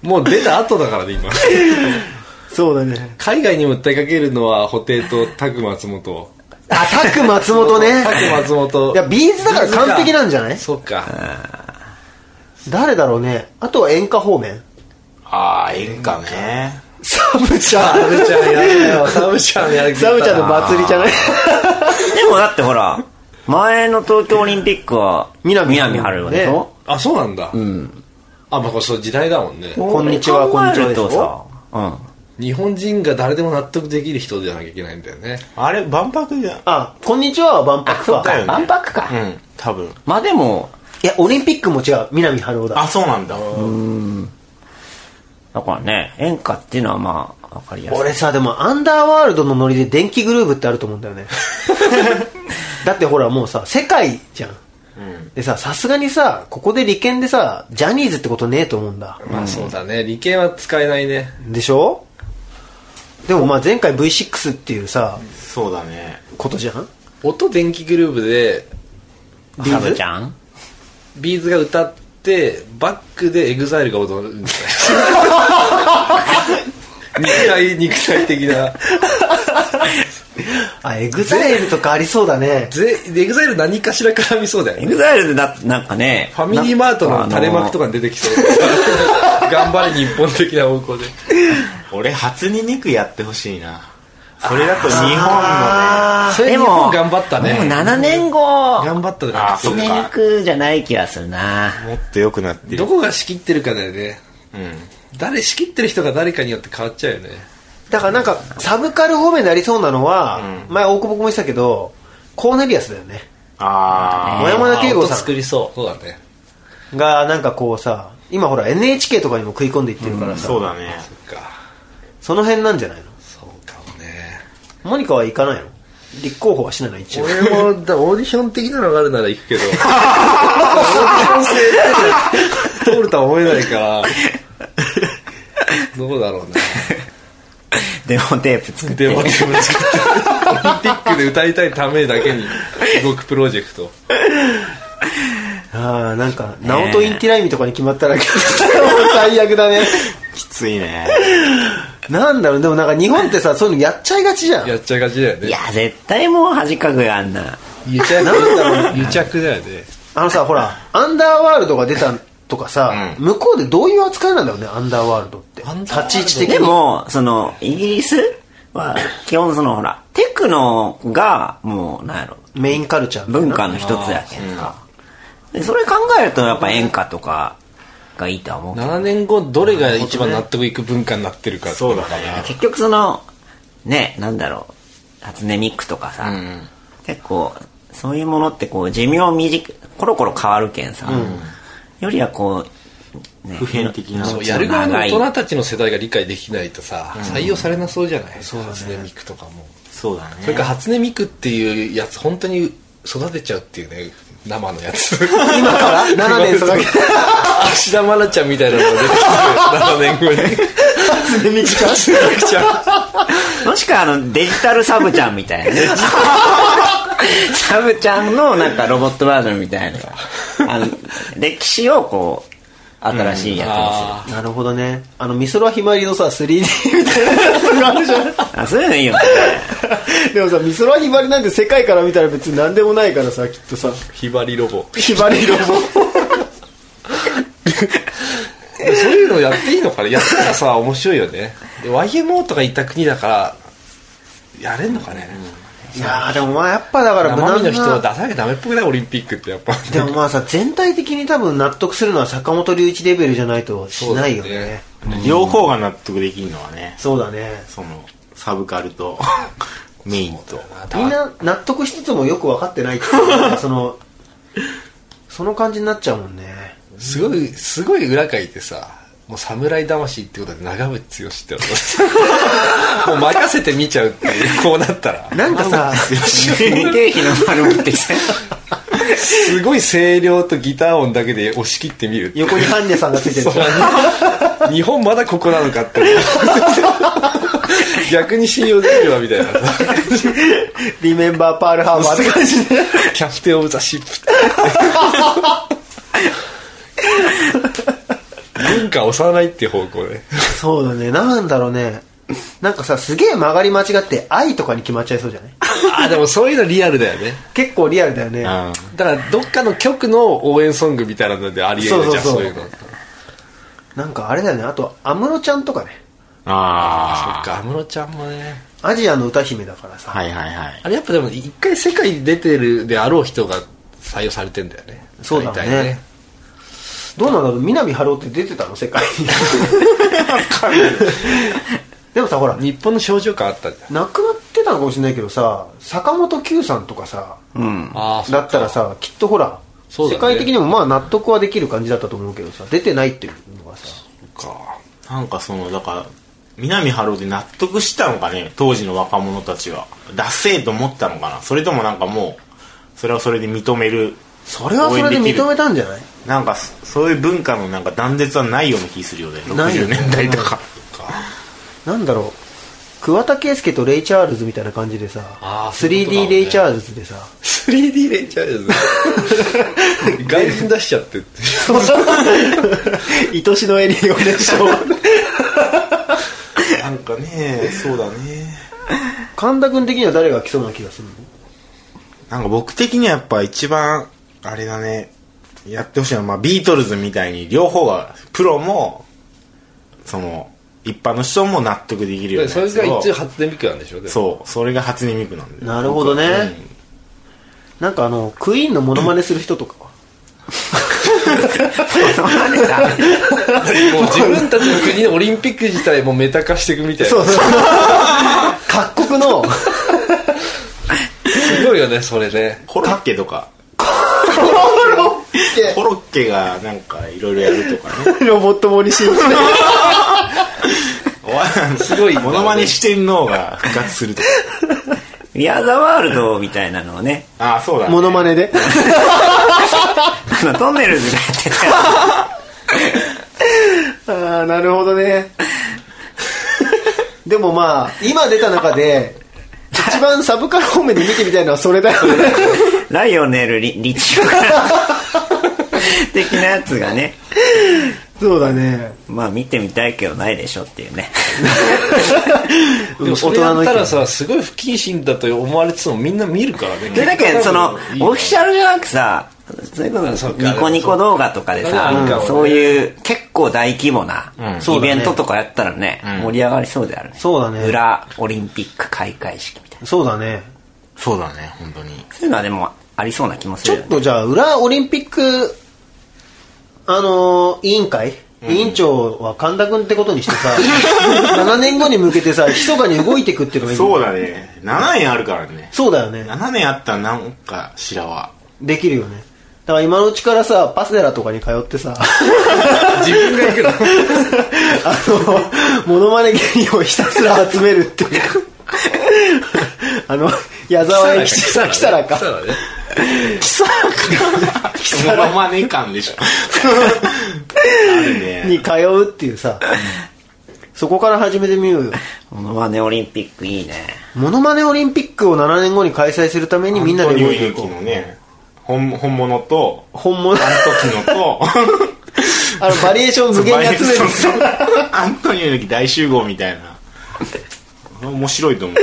D: *laughs* もう出た後だからね今
A: そうだね。
D: 海外にも訴えかけるのは布袋とタク松本
A: あ、タク松本ね。
D: タク松本
A: いや、ビーズだから完璧なんじゃない
D: そっか
A: 誰だろうね。あとは演歌方面。
B: ああ、演歌ね。
A: サブちゃん。
D: サブちゃんやだよサブちゃんや
A: サブちゃんの祭りじゃ *laughs* ない
C: でもだってほら、前の東京オリンピックは、
A: 南
C: 南春でしょ
D: あそうなんだうんあまあこれそう時代だもんね
A: こんにちは
C: これ考える
A: こんに
C: と
A: ちは
C: さうん。
D: 日本人が誰でも納得できる人じゃなきゃいけないんだよね
B: あれ、万博じゃん。
A: あ、こんにちはは万博か。
B: だよね。
C: 万博か
B: うん、多分。
C: まあでも、
A: いや、オリンピックも違う。南春夫だ
B: あ、。そうなんだ。
C: だからね、演歌っていうのはまあ、わかりやすい。
A: 俺さ、でも、アンダーワールドのノリで電気グルーブってあると思うんだよ *laughs* ね。だってほら、もうさ、世界じゃん。でさ、さすがにさ、ここで利権でさ、ジャニーズってことねえと思うんだ。
D: まあそうだね理系は使えないね
A: でしょでもまあ前回 V6 っていうさ、
B: そうだね。
A: ことじゃん
D: 音電気グルーブで
A: ズ
C: サブちゃん
D: ビーズが歌ってバックでエグザイルが踊る *laughs* んだよ肉体肉体的な
A: あ、エグザイルとかありそうだね。
D: ぜエグザイル何かしら絡みそうだよ
C: エ
D: ね
C: グザイルでだってなんかね、
D: ファミリーマートの垂れ幕と
C: か。
D: かに出てきそう *laughs* 頑張れ日本的な方向で
B: 俺、初に肉やってほしいな。それだと日本のね。
A: あ
D: それ
C: で
D: 日
C: も
D: 本頑張ったね
C: もう7年後、
D: 頑張ったで
B: あそっ
C: 年
B: か。
C: くじゃない気がするな。
B: もっと良くなって
D: ど
B: る。
D: こが仕切ってるかだよね
B: うん。
D: 誰仕切ってる人が誰かによって変わっちゃうよね
A: だからなんか、サブカル方面でありそうなのは、前大久保君も言ってたけど、コーネリアスだよね。
B: あ
A: 小山田圭吾
D: 音
A: さ
D: 作りそう。そうだね。
A: んがなんかこうさ今ほら NHK とかにも食い込んでいってるから
B: あ
A: さ、
B: そうだね
D: か。
A: その辺なんじゃないの
D: そうかもね。
A: モニカは行かないの立候補はしないの一応
D: 俺も、だオーディション的なのがあるなら行 *laughs* くけど。オーディション制で通るとは思えないから。どうだろうね。
C: デモテープ作って
D: デモテープ作って。オリンピックで歌いたいためだけに動くプロジェクト。
A: ああなんか直人インティライミとかに決まったらもう最悪
D: *laughs*
A: だね
B: きついね
A: なんだろうでもなんか日本ってさそういうのやっちゃいがちじゃん
D: やっちゃいがちだよね。
C: いや絶対もう恥かくよあんな
D: 癒着だ癒着だよね。
A: あのさほらアンダーワールドが出たとかさ、向こうでどういう扱いなんだろうねアンダーワールドって立ち位置的
C: で
A: に
C: もそのイギリスは基本そのほらテクノがもうなんやろ
A: メインカルチャーみたいな
C: 文化の一つやけんか、でそれ考えるとやっぱ演歌とかがいいとは思うけど
D: 7年後どれが一番納得いく文化になってるかって
B: *laughs*
D: い
B: そうだ
D: のかな
B: ね
C: 結局そのねなんだろう初音ミックとかさ、結構そういうものってこう寿命短くコロコロ変わるけんさ、よりはこう、ね、
B: 普遍的な
D: そうやる側の大人たちの世代が理解できないとさ、採用されなそうじゃない、初音ミクとかも、
B: そうだね
D: それから初音ミクっていうやつ本当に育てちゃうっていうね生のや *laughs* つ
A: 今から7年 *laughs* 育て
D: 芦田愛菜ちゃんみたいなのが出てきて7年後に *laughs* 初音ミク初音ミクちゃん
C: もしくはあのデジタルサブちゃんみたいなねサブちゃんのなんかロボットバージョンみたいなあの歴史をこう新しいやつにする、
A: なるほどねあの美空ひまりのさ 3D みたいなやつがあるじゃん
C: あそういうのいいよね
A: *laughs* でもさ美空ひばりなんて世界から見たら別に何でもないからさきっとさ
D: ひばりロボ
A: ひばりロボ
D: そういうのやっていいのかなやったらさ面白いよねで YMO とか行った国だからやれんのかね、
A: *laughs* いやーでもまあやっぱだから無
D: 生
A: 難
D: 身の人は
A: な
D: 出さなきゃダメっぽくないオリンピックってやっぱ
A: でもまあさ全体的に多分納得するのは坂本龍一レベルじゃないとしないよ
D: そうだ
A: ね
D: ね
B: 両方が納得できるのはね
A: そうだね
B: そのサブカル *laughs* とメインと
A: みんな納得しつつもよく分かってないっていう *laughs* かそのその感じになっちゃうもんね
D: すごい、すごい裏書いてさ、もう侍魂ってことで長渕剛って *laughs* こともう任せて見ちゃうっていう、こうなったら。
A: なんかさ
C: 経費の丸持ってきて
D: すごい声量とギター音だけで押し切ってみるっていう
A: 横にハンニャさんがついてるじゃん
D: そう *laughs* 日本まだここなのかって。 *laughs* 逆に信用できるわみたいな。
A: リメンバーパールハーバーって感じで
D: キャプテンオブザシップって。文化を押さないっていう方向で。
A: そうだねなんだろうねなんかさすげえ曲がり間違って愛とかに決まっちゃいそうじゃない
D: あ、でもそういうのリアルだよね。
A: 結構リアルだよね
B: うん
D: だからどっかの局の応援ソングみたいなのでありえるじゃん
A: そう
D: そ
A: そうそう
D: ういうのそっ
A: なんかあれだよねあと安室ちゃんとかね
B: ああ
D: か安室ちゃんもね
A: アジアの歌姫だからさ
B: はいはいはい
D: あれやっぱでも一回世界に出てるであろう人が採用されてんだよね
A: そうだね
D: 大体
A: どうなんだろう南春夫って出てたの世界 *laughs* にでもさほら
D: 日本の症状感あったじゃん
A: 亡くなってたのかもしれないけどさ坂本九さんとかさ
D: あ
A: だったらさきっとほら、
D: そうだ
A: 世
D: ね
A: 界的にもまあ納得はできる感じだったと思うけどさ出てないっていうのがさ
D: か
B: なんかそのだから南春夫で納得したのかね当時の若者たちはダッセーと思ったのかなそれともなんかもうそれはそれで認める
A: それはそれで
B: 応援きる
A: 認めたんじゃない
B: なんかそそういう文化のなんか断絶はないような気するよね
A: ないよ
B: 60
A: ね
B: 年代とか
A: なんだろう桑田佳祐とレイ・チャールズみたいな感じでさ
D: あーそういうことだ
A: 3D
D: もんね
A: レイ・チャールズでさ
D: 3D レンチャーズ *laughs* 外人出しちゃってって
A: 愛しのエリーをね
B: なんかねそうだね
A: 神田君的には誰が来そうな気がするの
B: なんか僕的にはやっぱ一番あれだねやってほしいのは、まあ、ビートルズみたいに両方がプロもその一般の人も納得できるような
D: それ
B: やつ
D: が
B: を
D: 一応初音ミクなんでしょでも
B: そうそれが初音ミクなんだよ
A: なるほどね
B: うん
A: なんかあのクイーンのモノマネする人とかは
D: もう自分たちの国のオリンピック自体もメタ化し
A: *laughs*
D: ていくみたいな
A: そうそう各国の
D: すごいよよねそれね
B: コロッケとかコロッケがなんかいろいろやるとか
A: *laughs*
B: ね
A: ロボットモリシ
D: *laughs*
A: ン
B: おい
D: すごい
B: モノマネしてんのが復活するとか
C: ウィアーザワールドみたいなのをね、
B: ああそうだ、ね、
A: モノマネで
C: あの、トンネルズがやってた。
A: ああなるほど *laughs* ねでもまあ今出た中で一番サブカル方面で見てみたいのはそれだよね
C: *laughs* ライオネルリ・リチオから的なやつがね、 *laughs*
A: そうだね
C: まあ見てみたいけどないでしょっていうね。
D: でもそれやったら
A: 大人の
D: さすごい不謹慎だと思われててもみんな見るからね
C: で、だけど、その、オフィシャルじゃなくさ、それこ
D: そ
C: そ
D: っか
C: ニコニコ動画とかで
D: そっか
C: さ
D: うん、
C: そういう結構大規模な
A: そう
C: イ
A: だね
C: ベントとかやったらね、盛り上がりそうであるね。
A: そうだね
C: 裏オリンピック開会式みたいな。
A: 意見そうだね
B: そうだね本当に
C: そういうのはでもありそうな気もす
A: ちょ
C: るよ
A: っ
C: ね。
A: とじゃあ裏オリンピックあのー委員会委員長は神田君ってことにしてさ *laughs* 7年後に向けてさ密かに動いてくっていうのがいい
B: そう
A: だ
B: だね7年あるからね
A: そうだよね
B: 7年あったらなんかしらは
A: できるよねだから今のうちからさパスデラとかに通ってさ
D: 自分が行くの
A: あのモノマネ芸人をひたすら集めるっていうあの矢沢永吉さん来たらか *laughs*
D: 来たらね
B: モノマネ感でしょ *laughs* あるね
A: に通うっていうさそこから始めてみようよ
C: モノマネオリンピックいいね。
A: モノマネオリンピックを7年後に開催するためにみんな
B: 本
A: で
B: 当に
A: 動いてい
B: 勇
A: こ
B: 気の
A: う
B: ね本本物と
A: 本物
B: あの時のと
A: あのバリエー *laughs* ション無限に集める
B: そう *laughs* そうアントニオ猪木大集合みたいな面白いと思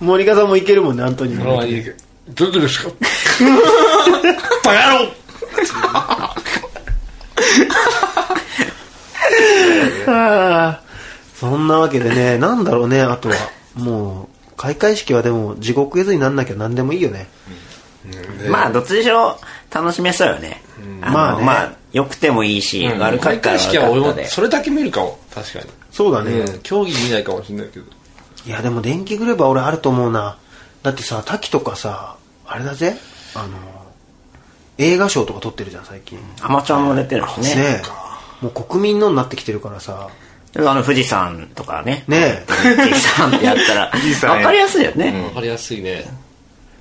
B: う
A: 森川さんもいけるもんねアントニオ
D: まあいいけどどうですか
B: バカ野郎
A: あー *laughs* そんなわけで *laughs* ねなんだろうねあとはもう開会式はでも地獄絵図になんなきゃ何でもいいよね
C: まあ、どっちにしろ楽しめそうよね。あの
A: まあね
C: まあ、良くてもいいし、悪かっ
D: 開
C: たら
D: 会
C: 悪
D: 式
C: か
D: は俺
C: った
D: も
C: で。
D: それだけ見るかも確か
A: そうだね、
D: に、うん、競技見ないかもしれないけど
A: いやでも電気グループは俺あると思うなだってさ滝とかさあれだぜあの映画賞とか撮ってるじゃん最近ね
C: アマチュアも出てるしね。
A: えもう国民のになってきてるからさ
C: あの、富士山とかね。
A: ねえ
C: 富士山ってやった *laughs* ら、
B: 士山や
C: わかりやすいよね。
D: わかりやすいね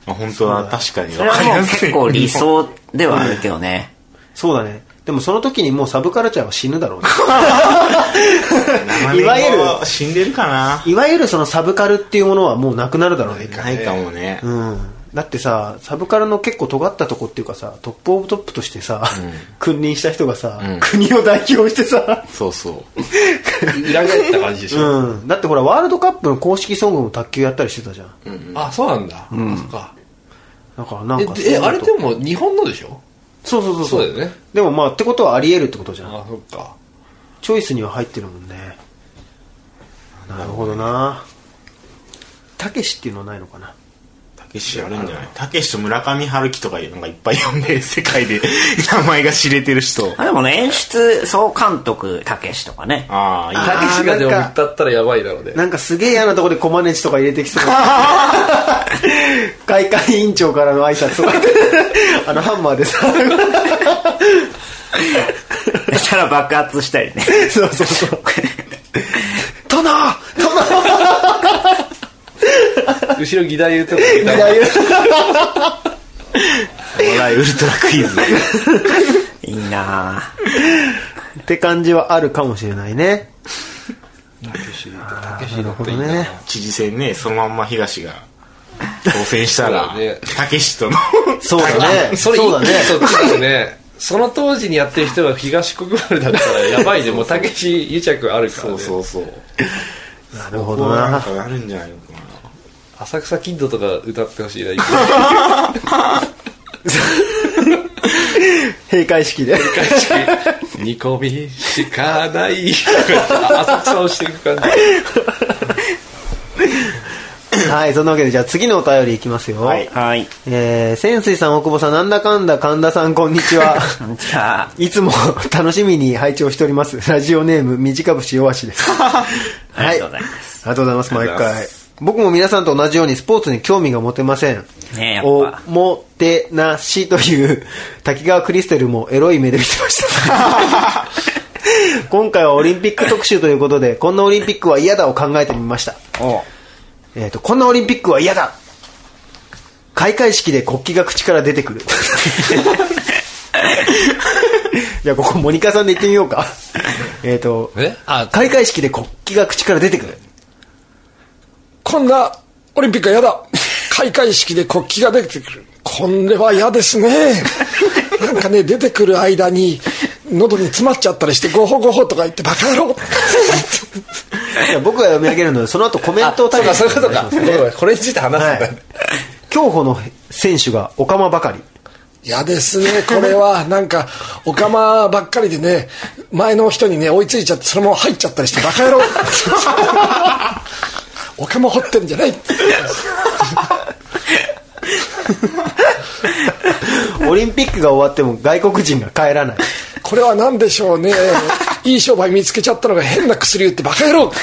B: あ本当だ確かに
C: そ
B: 分
C: れ
B: かり
C: はも
B: や
C: う
B: すい
C: 結構理想ではあるけどね。
A: そうだねでもその時にもうサブカルチャーは死ぬだ *laughs* ろうね
B: い
A: いわ
B: わ
A: ゆる
B: ゆる死んでるかない
A: わゆるそのサブカルっていうものはもうなくなるだろうね
B: ないかもね
A: うんだってさサブカルの結構尖ったとこっていうかさトップオブトップとしてさ、君臨した人がさ、
B: うん
A: 国を代表してさ
B: そうそう
D: 裏返った感じでしょ、
A: うん、だってほらワールドカップの公式ソングも卓球やったりしてたじゃん、
D: あそうなんだ、あそっか
A: だからなんか
D: えでえあれで
A: も
D: も日本のでしょ
A: そうそうそう
D: そうだよね
A: でもまあってことはありえるってことじゃん
D: あそっか
A: チョイスには入ってるもんねなるほどなたけしっていうのはないのかな
B: たけしやるんじゃないたけしと村上春樹とかなんかいっぱい呼んで世界で名前が知れてる人
C: あでもね、演出総監督、たけしとか *laughs* ね。
B: ああいい
A: あ
B: ね
D: たけしがでも
A: なんか
D: 歌ったらやばいだろうね
A: なんかすげえ嫌なとこでコマネチとか入れてき *laughs* そう開会委員長からの挨拶と *laughs* かあのハンマーでさ
C: そしたら爆発したりね。
A: そうそうそう殿殿
D: 後ろ議題言うと *laughs* こ
A: みたいな言う
B: お笑いウルトラクイズ
C: いいなぁ。
A: って感じはあるかもしれないね
D: たけし
A: なるほどね
B: 知事選ねそのまんま東が当選した *laughs* ら
D: そうだね
B: たけしとの
A: そうだね
D: それ
A: そうだね
D: そうだねその当時にやってる人が東国原だったらやばいねもうたけし癒着あるから、
B: *laughs* そ
D: ね、
B: うそうそう
A: なるほ
B: こ
A: ど
B: うなん
A: な
B: かなるんじゃないのかな
D: 浅草キッドとか歌ってほしいな
A: 閉会式で
D: 煮込みしかない浅草をしていく感じ
A: はい、そんなわけで、じゃあ次のお便りいきますよ。
B: はい
C: はい。
A: えー、潜水さん、大久保さん、なんだかんだ、神田さん、こんにち *laughs* は。
C: じゃ *laughs* あ、
A: いつも楽しみに拝聴しております。ラジオネーム、短節弱しです。はい。
C: ありがとうございます
A: ありがとうございます、毎回。僕も皆さんと同じようにスポーツに興味が持てません。
C: ねえやっぱ
A: おもてなしという滝川クリステルもエロい目で見てました今回はオリンピック特集ということでこんなオリンピックは嫌だを考えてみました
C: おう
A: えー、とこんなオリンピックは嫌だ開会式で国旗が口から出てくる *laughs* じゃあここモニカさんで言ってみよう
D: *laughs*
A: かえっと
D: えあ
A: 開会式で国旗が口から出てくる
G: こんなオリンピックは嫌だ。開会式で国旗が出てくる。これは嫌ですね。なんかね、出てくる間に、喉に詰まっちゃったりして、ごほごほとか言って、バカ野郎
A: いや僕が読み上げるのでその後コメン
D: あ
A: ト
D: そ
A: を
D: うかそういうことかそういうことかこれについて話すんだ、
A: はい競歩の選手がオカマばかり
G: 嫌ですね、これは。なんか、オカマばっかりでね、前の人にね、追いついちゃって、そのまま入っちゃったりして、バカ野郎オカマ掘ってるんじゃない
A: オリンピックが終わっても外国人が帰ら
D: *laughs*
A: ない
G: これは何でしょうねいい商売見つけちゃったのが変な薬売ってバカ野郎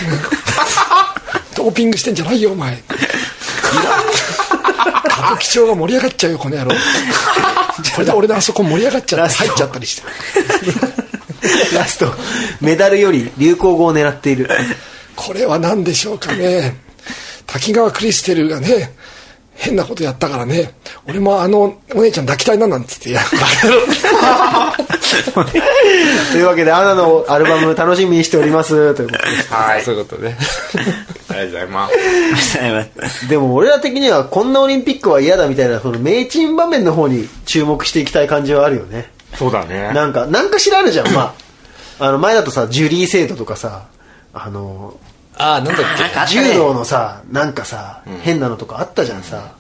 G: ドーピングしてんじゃないよお前いらん歌舞伎町が盛り上がっちゃうよこの野郎これで俺のあそこ盛り上がっちゃって入っちゃったりして
A: ラストメダルより流行語を狙っている
G: これは何でしょうかね滝川クリステルがね変なことやったからね俺もあのお姉ちゃん抱きたいななんつっていやバカ野郎
A: というわけでアナのアルバム楽しみにしておりますということで
D: はいそういうことね
B: ありがとうございます。
A: でも俺ら的にはこんなオリンピックは嫌だみたいなその名チン場面の方に注目していきたい感じはあるよね
B: そうだね
A: なんかなんか知らあるじゃんまああの前だとさジュリー制度とかさあの
D: ああなんだっ
C: なんかあったね
A: 柔道のさなんかさ、変なのとかあったじゃんさ、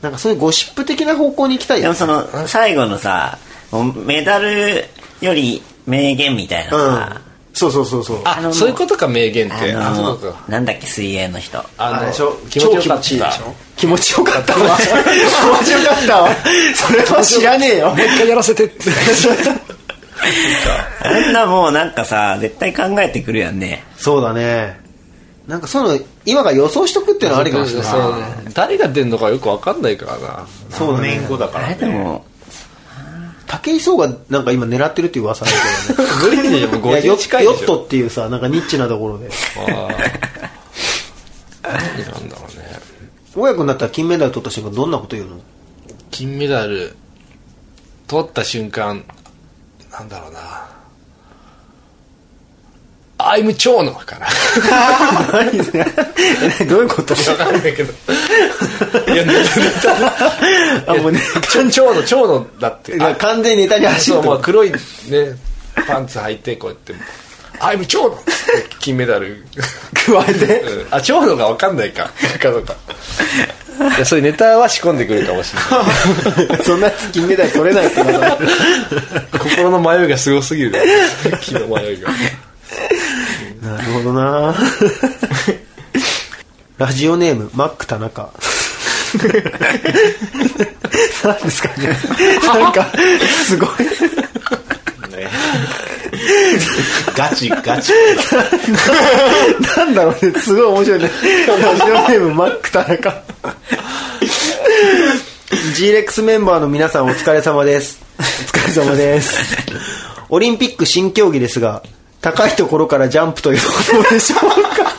A: なんかそういうゴシップ的な方向に行きたい
C: で
A: よ
C: も
A: ね
C: その最後のさもうメダルより名言みたいな
A: うん
C: さ、
A: そうそうそうそう
D: あ
C: あの
D: そういうことか名言って
C: あ
D: あそう
C: の
D: か
C: なんだっけ水泳の人
D: あ
A: あれでしょ
D: 気持ちよ
A: 超気持
D: かっ
A: ちいいで
D: た
A: しょ気持ちよかったわ気持ちよかったわそれは知らねえよ
G: もう一回やらせてって
C: あんなもうなんかさ絶対考えてくるやんね
A: そうだねなんかそういうの今が予想しとくっていうのはありかもしれない
D: そうね誰が出んのかよくわかんないからな
A: そうだね
B: 年後だか
C: あ
B: ら
C: れでも
A: 武井壮がなんか今狙ってるっていう噂だけどね
D: 無理でしょ
A: い
D: もう
A: や
D: 50
A: ヨ
D: 近い
A: ヨ
D: でし
A: ッ
D: ょ
A: トっていうさなんかニッチなところで
D: ああ何なんだろうね
A: 親君だったら金メダル取った瞬間どんなこと
D: *laughs*
A: 言うの
D: 金メダル取った瞬間なんだろうな「I'm 蝶野」かな
A: どういうこと
D: わかんないけどいやネ
A: あもうね
D: タ蝶野蝶野だってあ
A: 完全にネタに走る
D: そう
A: ってこ
D: まあ
A: と
D: 黒いねパンツ履いてこうやって「I'm 蝶野」金メダル
A: 加えて
D: うんあ蝶野がわかんないかかどうかいやそういうネタは仕込んでくるかもしれない
A: そんなやつ金メダル取れないってことだ
D: 心の迷いがすごすぎる気の迷いが
A: なるほどなラジオネームマック田
D: *laughs*
A: 中なんですかねなんかすごい
B: ね。 *laughs* ガチガチ。
A: なんだろうねすごい面白いねラジオネームマック田中 G-REX メンバーの皆さんお疲れ様ですお疲れ様ですオリンピック新競技ですが高いところからジャンプということでしょうか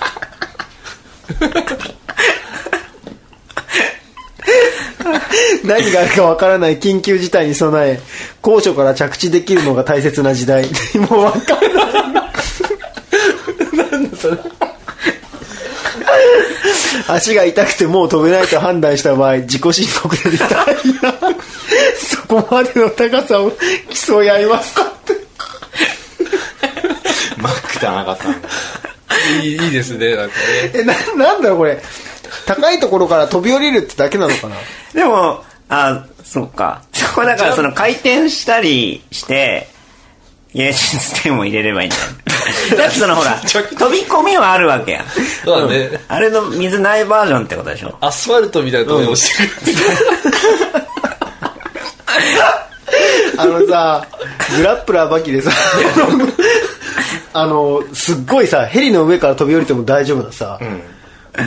A: 何があるかわからない緊急事態に備え高所から着地できるのが大切な時 *laughs* 代もうわかんない足が痛くてもう飛べないと判断した場合自己申告でリタイアそこまでの高さを競い合いますかって
B: マック田中さん。
D: いいいいですねなんかね
A: えななんだろうこれ高いところから飛び降りるってだけなのかな
C: でもあそっかそこだからその回転したりして芸術点を入れればいいんだ
D: *laughs*
C: よだってそのほら飛び込みはあるわけやん
D: そうだね
C: あれの水ないバージョンってことでしょ
D: アスファルトみたいなところに落ちてくる
A: あのさグラップラーバキでさ *laughs* あのすっごいさヘリの上から飛び降りても大丈夫なさ、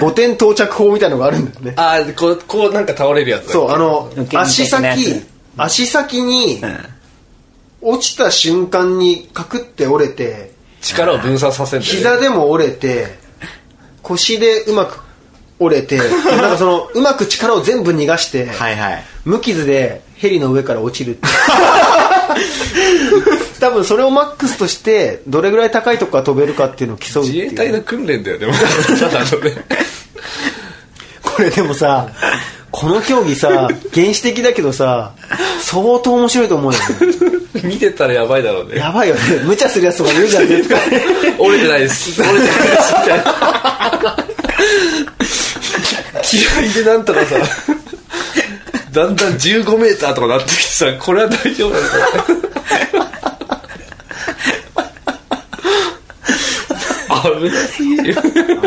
A: 母点到着法みたいのがあるんだよね
D: あーこうこうなんか倒れるやつだ
A: そうあの
C: 受け身的なやつ
A: 足先足先に落ちた瞬間にカクって折れて
D: 力を分散させるんだよね
A: 膝でも折れて腰でうまく折れてなんかそのうまく力を全部逃がして、
B: はいはい
A: 無傷でヘリの上から落ちるって *laughs* 多分それをマックスとしてどれぐらい高いとこから飛べるかっていうのを競うって
D: 自
A: いう
D: 衛隊の訓練だ *laughs* よねもうただのね
A: これでもさこの競技さ原始的だけどさ相当面白いと思うよね
D: 見てたらやばいだろうね
A: やばいよね無茶するやつとかいるじゃん絶対
D: 折れてないです折れてないですみたいな気合でなんとかさだんだん1 5メーターとかなってきてさこれは大丈夫なのかな危なすぎる
B: 危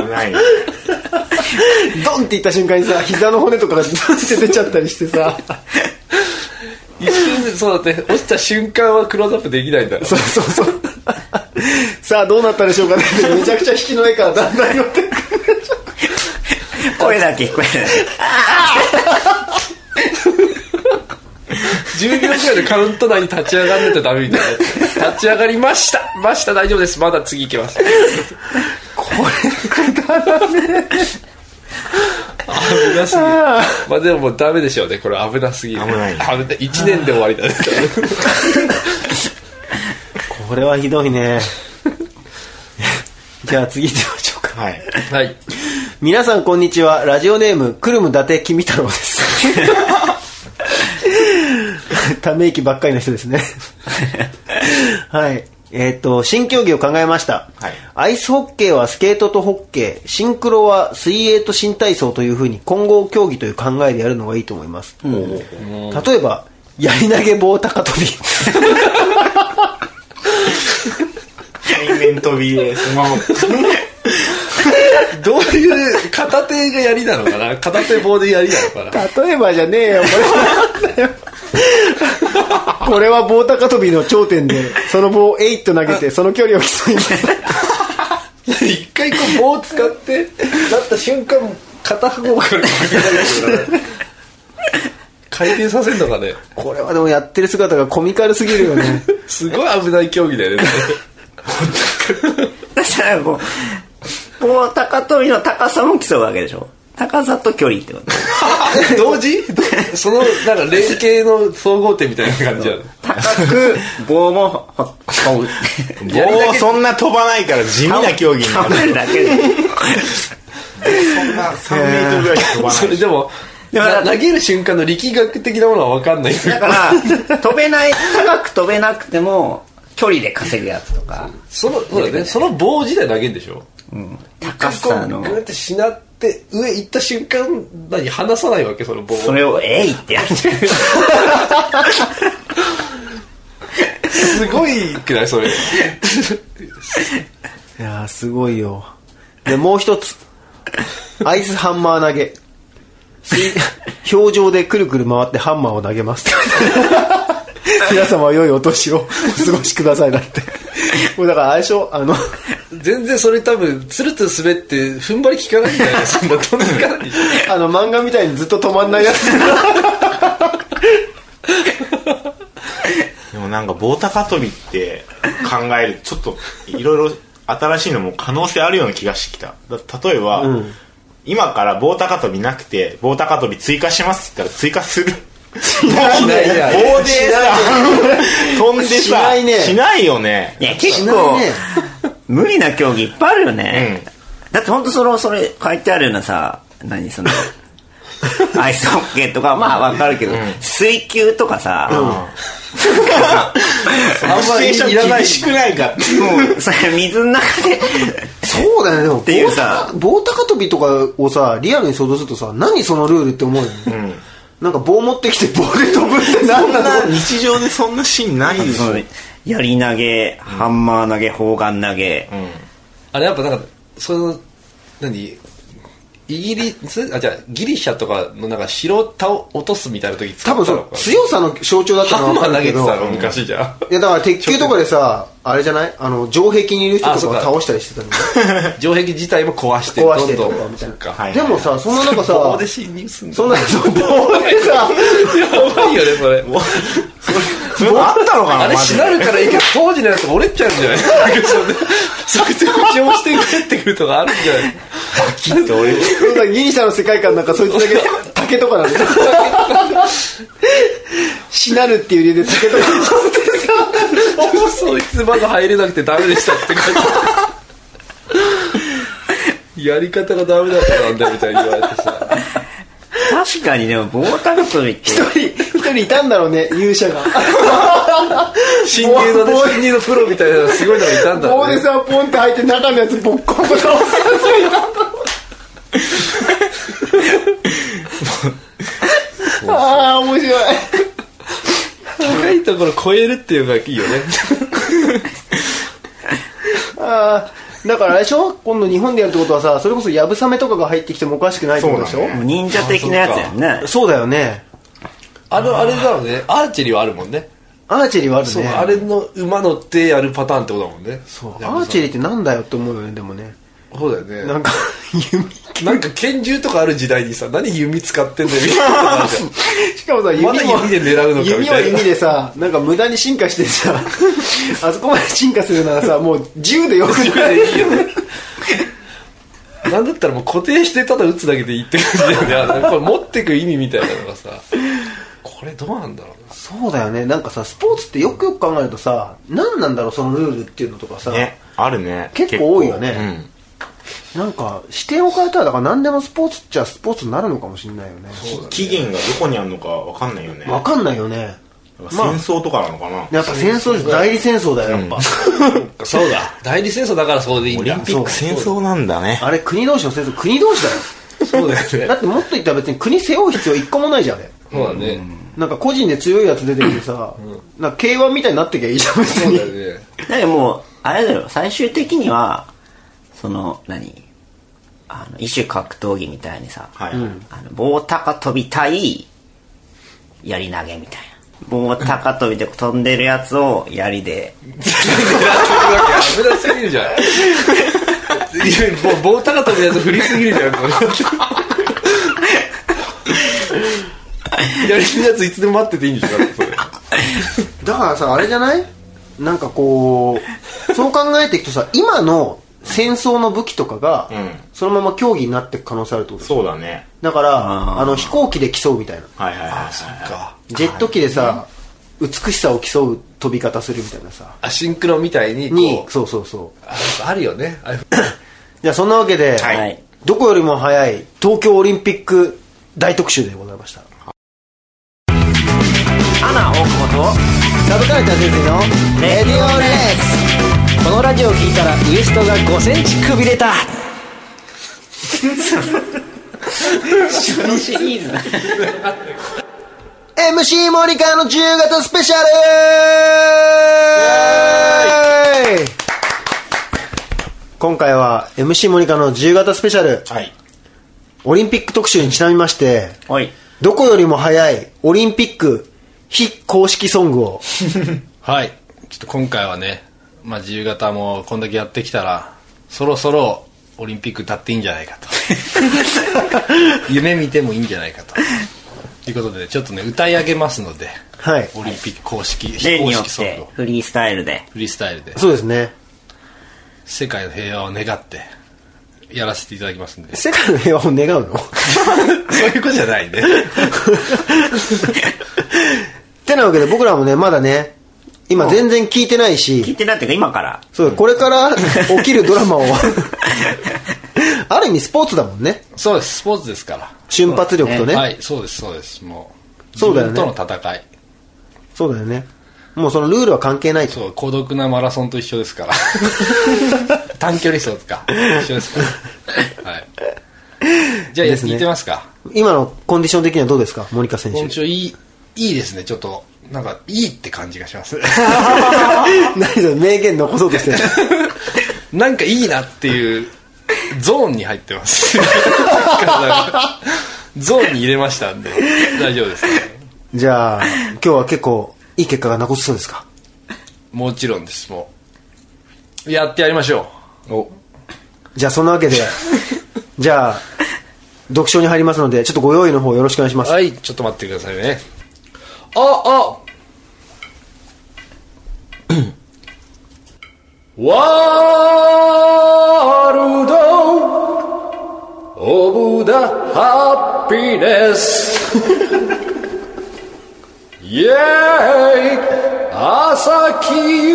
B: ないね
A: ドンっていった瞬間にさ膝の骨とかがドンって出ちゃったりしてさ
D: 一瞬でそうだって落ちた瞬間はクローズアップできないんだ
A: そうそうそうさあどうなったでしょうかねってめちゃくちゃ引きの絵からだんだん寄ってく
C: 声だけ聞こえる。
D: 10秒ぐらいでカウント内に立ち上がんないとダメみたいな立ち上がりましたました大丈夫ですまだ次行けますこれくだらねえ危なすぎるまあでももうダメでしょうねこれ危なすぎる
B: 危ない
D: 危ない1年で終わりだね
A: これはひどいねじゃあ次行ってみましょうか
B: はい
D: はい
A: 皆さんこんにちはラジオネームくるむ伊達君太郎です
B: *laughs*
A: ため息ばっかりの人ですねはいえっ、と新競技を考えました、
B: はい
A: アイスホッケーはスケートとホッケーシンクロは水泳と新体操というふうに混合競技という考えでやるのがいいと思います、例えばやり投げ棒高跳び
B: 対面飛びでそのまま
D: どういう片手がやりなのかな片手棒でやりなのかな
A: 例えばじゃねえよこれはこれは棒高跳びの頂点でその棒をエイッと投げてその距離を競います
D: 一回こう棒を使ってなった瞬間片方からかけられるから回転させるのかね
A: *laughs* これはでもやってる姿がコミカルすぎるよね
D: すごい危ない競技だよね
C: そしたらこう、こう、高跳びの高さも競うわけでしょ。高さと距離ってこと。
D: 同時 *laughs* そのなんか連携の総合点みたいな感じだよ
C: 高く、棒も、ほ、ほう。
B: 棒をそんな飛ばないから地味な競技にな
C: 跳
B: る
C: ねるだけで。
B: そんな3メートルぐらいしか飛ばない
D: それでも
C: でも
D: な投げる瞬間の力学的なものは分かんない
C: *laughs* だから、飛べない、高く飛べなくても、距離で稼ぐやつとか、
D: そのそうだよねその棒自体投げるんでしょ
C: 高さの
D: こう、やってしなって上行った瞬間何離さないわけその棒を
C: それを、えいってやっちゃう。
D: すごいくないそれ
A: いやーすごいよでもう一つアイスハンマー投げ水氷上でくるくる回ってハンマーを投げます *laughs* 皆様良いお年をお *laughs* 過ごしくださいだってこれだから相性あの
D: 全然それ多分つるつる滑って踏ん張り効かないんじゃないそんな飛んでいかないでし
A: *laughs*
D: ょ
A: あの漫画みたいにずっと止まんないやつ
B: でもなんか棒高跳びって考えるちょっといろいろ新しいのも可能性あるような気がしてきただ例えば、今から棒高跳びなくて棒高跳び追加しますって言ったら追加する棒で
D: いやいや
B: 棒でさ飛んでさ
A: しないね
B: しないよね
C: いや、結
A: な
C: 構
A: いね、
C: 無理な競技いっぱいあるよね。だってほんとその、それ書いてあるようなさ、何
A: *laughs*
C: その、アイスホッケーとか、まあわかるけど、水球とかさ、
B: あんまりいらないしくないかって
C: もう、それ水の中で、
A: そうだよねでも
C: ていうさ
A: 棒高棒高跳びとかをさリアルに想像するとさ何そのルールって思うよね、なんか棒持ってきて棒で飛ぶって何なの
B: そんな日常でそんなシーンないでし
C: そ
B: ょ
C: のやり投げ、ハンマー投げ、砲丸投げ、
D: あれやっぱなんか、その、何イギリス、あ、じゃあギリシャとかのなんか城を落とすみたいな時使
A: 多
D: った
A: 分
D: の
A: そ
D: か
A: の強さの象徴だったの
D: ハ
A: は
D: ンマ
A: 分か
D: ー投
A: る
D: げ
A: け
D: てた
A: ど
D: *laughs* の昔じゃん。
A: いやだから鉄球とかでさあれじゃないあの城壁にいる人
D: あ
A: と
D: そ
A: かを
D: うか
A: 倒したりしてたの
D: 城壁自体も *laughs* 壊して
A: 壊して
D: ど
A: と
D: んど
A: か
D: ん
A: みたいな
B: はい
A: でもさそんな中さ
D: 棒で侵入すん
A: そん
D: の
A: なそう棒でさ
D: やばいよねそれ
B: そういうのあったのかな
D: あれ
B: マジ
D: し
B: で
D: なるからいいけど当時のやつ折れちゃうんじゃないなんかそれそれで使用して帰ってくるとかあるんじゃない
A: そうだギリシャの世界観なんかそいつだけ竹とかなんでしなるっていう理由で竹とか
D: *laughs* そいつまだ入れなくてダメでしたって感じやり方がダメだったなんだみたいに言われて *laughs* さ
C: 確かにでも棒高跳びって
A: 一人一人いたんだろうね勇者が
D: 新入のね新入のプロみたいなすごいのがいたんだ
A: 棒
D: ろう
A: で
D: ね
A: さポンって入って中のやつボッコボコ倒すやつがいたんだろうああ面白い
D: 高いところ超えるっていうのがいいよね
A: ああだからあれでしょ今度日本でやるってことはさそれこそやぶさめとかが入ってきてもおかしくないってことでしょ
B: そうだ
C: もう忍者的なやつやんね
A: そうだよね
D: あのあれだろうねアーチェリーはあるもんね
A: アーチェリーはある
D: そう
A: ね
D: あれの馬乗ってやるパターンってことだもんね
A: そうアーチェリーってなんだよって思うよねでもね
D: そうだよね
A: なんか *laughs* 弓
D: なんか拳銃とかある時代にさ何弓使ってんだよみたいな感じ *laughs* だよ
A: *laughs* しかもさ弓も
D: まだ弓で狙うのかみ
A: 弓
D: た
A: はい
D: な
A: 弓でさなんか無駄に進化してさ *laughs* あそこまで進化するならさもう銃でよくない
D: いいよねなんだったらもう固定してただ打つだけでいいって感じだ *laughs* よねあのこれ持ってく意味みたいなのがさこれどうなんだろう
A: *laughs*
D: な
A: そうだよねなんかさスポーツってよくよく考えるとさ何なんだろうそのルールっていうのとかさ、
B: ねあるね
A: 結構多いよね
B: うん
A: なんか視点を変えたらだから何でもスポーツっちゃスポーツになるのかもしれないよね
B: 期限がどこにあるのかわかんないよね
A: わかんないよね
B: 戦争とかなのかな、
A: やっぱ戦争代理戦争だよやっぱ、
D: そうだ代理戦争だからそうでいいん
B: オリ
D: だ
B: ンピック戦争なんだね
A: あれ国同士の戦争国同士 *laughs* だよ
D: そうだ
A: だ
D: よね
A: ってもっと言ったら別に国背負う必要一個もないじゃんあれ
D: そうだね
A: なんか個人で強いやつ出てきてさ、なんか K1 みたいになってきゃいいじゃん別
D: そうだ
A: に
D: よね
C: だけどもうあれだよ最終的にはその何あの異種格闘技みたいにさ、
B: はい、
C: あの棒高跳び対やり投げみたいな棒高跳びで飛んでるやつを槍で
D: 危なすぎ *laughs* るじゃんいや棒高跳びのやつ振りすぎるじゃんこ *laughs* れやりすぎるやついつでも待ってていいんでしょだってそれ
A: だからさあれじゃないなんかこうそう考えていくとさ今の戦争の武器とかが、
B: うん
A: そのまま競技になっていく可能性あるってこと
B: そうだね
A: だから
C: あー
A: あの飛行機で競うみたいな
B: はいはいはいはいはい
A: ジェット機でさ、美しさを競う飛び方するみたいなさ
D: アシンクロみたいにこう
A: にそうそうそう
D: ああるよねあ
A: じゃあそんなわけで、
B: はい
C: はい
A: どこよりも早い東京オリンピック大特集でございました
C: アナ大久保と
A: サブカルチャー先生のレディオレッスこのラジオを聞いたらウエストが5センチくびれた
C: シリーズ
A: MC モニカの自由形スペシャル今回は MC モニカの自由形スペシャル
B: はい
A: オリンピック特集にちなみまして
C: おい
A: どこよりも早いオリンピック非公式ソングを
D: はいちょっと今回はね、まあ、自由形もこんだけやってきたらそろそろオリンピック立っていいんじゃないかと
A: *laughs*
D: 夢見てもいいんじゃないかとということでちょっとね歌い上げますので
A: はい
D: オリンピック公式、非
C: 例
D: 公
C: によっ
D: 式ソング
C: て
D: を
C: フリースタイルで
D: フリースタイルで
A: そうですね
D: 世界の平和を願ってやらせていただきますん
A: *laughs*
D: でそ
A: 世界の平和を願うの *laughs* っ
D: ういうことじゃないね
A: てなわけで僕らもねまだね今全然聞いてないし
C: 聞いてないっていうか今から
A: そう、これから起きるドラマを。ある意味スポーツだもんね。
D: そうですスポーツですから
A: 瞬発力とね。
D: はいそうですそうですもう
A: そうだよね
D: 自分との戦い
A: そうだよね。もうそのルールは関係ないと。
D: そう孤独なマラソンと一緒ですから
A: *laughs*
D: 短距離走とか一緒ですからはいじゃあや
A: で
D: っ
A: すね
D: ていってますか
A: 今のコンディション的にはどうですかモニカ選手
D: 今。週いいいいですねちょっとなんかいいって感じがします *laughs*
A: *laughs* 何それ名言残そうとしてる。 *laughs*
D: なんかいいなっていうゾーンに入ってます *laughs* ゾーンに入れましたんで大丈夫です、ね、
A: じゃあ、今日は結構いい結果が残せそうですか
D: もちろんですもうやってやりましょ
B: お
A: じゃあそんなわけでじゃあ読書に入りますのでちょっとご用意の方よろしくお願いしま
D: う
A: す
D: はいちょっと待ってくださいねあ *coughs* あワールドオブダハッピネ *laughs* スイェーイ朝き夢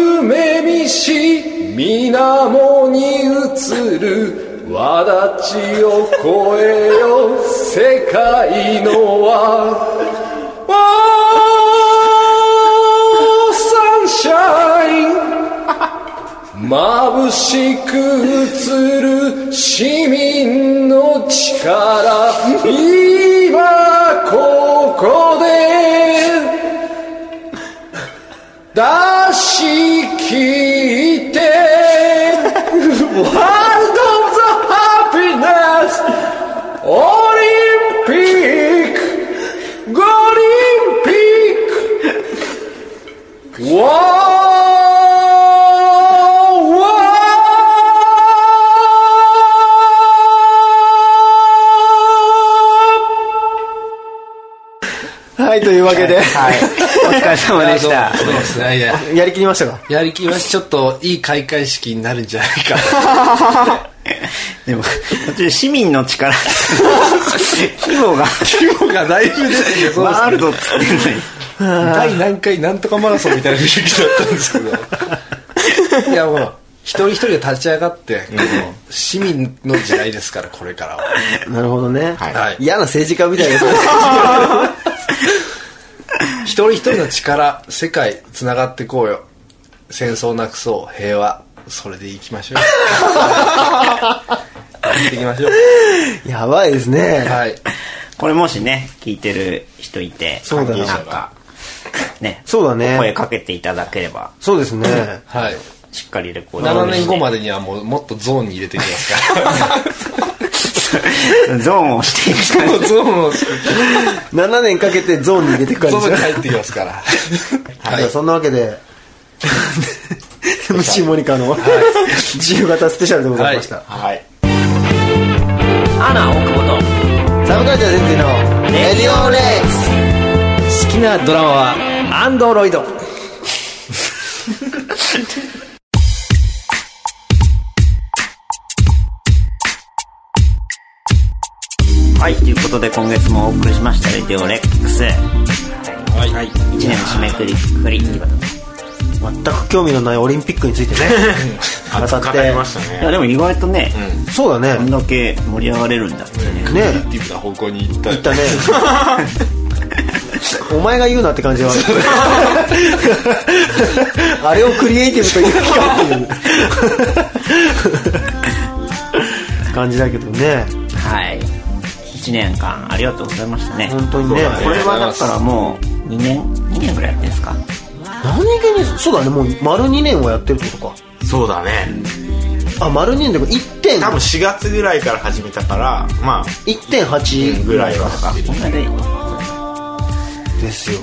D: 見し水面に映るわだちを越えよ世界の輪あーサンシャイン眩しく映る市民の力今ここで出し切ってワールド・オブ・ザ・ハピネスオリンピック五輪ピック Whoa! Whoa!
A: はいというわけで、
C: はい。お疲れ様でした。
D: そうですねいや
A: やりきりましたか
D: やりきりましちょっといい開会式になるんじゃないか
C: でも、途中市民の力って、
A: *laughs*
C: 規模が、
D: 規模がだいぶ出てるそうで
C: ワ
D: す
C: ールドっつってんのに。
D: 第何回なんとかマラソンみたいな雰囲気だったんですけど *laughs* いやもう一人一人が立ち上がって、この市民の時代ですからこれからは
A: なるほどね、
B: はい
D: はい
A: 嫌な政治家みたいですね *laughs*
D: 一人一人の力世界つながってこうよ戦争なくそう平和それでいきまし *laughs* ょうやっていきましょう
A: やばいですね、
D: はい
C: これもしね、聞いてる人いて、
A: そうだな
C: なんか、ね、
A: そうだね
C: お声かけていただければ、
A: そうですね
D: はい
C: しっかりレコーディン
D: 7
C: グして。
D: 年後までにはもうもっとゾーンに入れていきますから
C: ゾーンをしてい
D: *laughs*
C: く感じ。
D: ゾーンを
A: 7年かけてゾーンに入れていく
D: ゾ
A: 感じ
D: ーンに入ってきますからは
A: はいい、そんなわけ *laughs* で MC モニカの、自由形スペシャルでございました、
B: はい
C: アナ、奥本。
A: サブカルチャー全然のレディオレックス好きなドラマはアンドロイド
C: はい、ということで今月もお送りしました、レディオレックス。はい。はい、1年の締めくり、くりっていうことで。
A: 全く興味のないオリンピックについてね
B: 熱く語りました
C: い
B: ね
C: や、でも意外とね、
A: *laughs* そうだ
C: こん
A: ね
C: だけ盛り上がれるんだってね。
A: ね
D: アクティブな方向に行った
A: 言ったねお前が言うなって感じはある *laughs* あれをクリエイティブと言うかっていう感じだけどね
C: はい。1年間ありがとうございましたね。
A: 本当にね
C: これはだからもう2年、2年ぐらいやってんですか
A: 何気にそうだねもう丸2年はやってるってことか
B: そうだね
A: あ丸2年でも1点
B: 多分4月ぐらいから始めたからまあ
A: 1.8
B: ぐらいはかかってる
C: こんなで
A: ですよ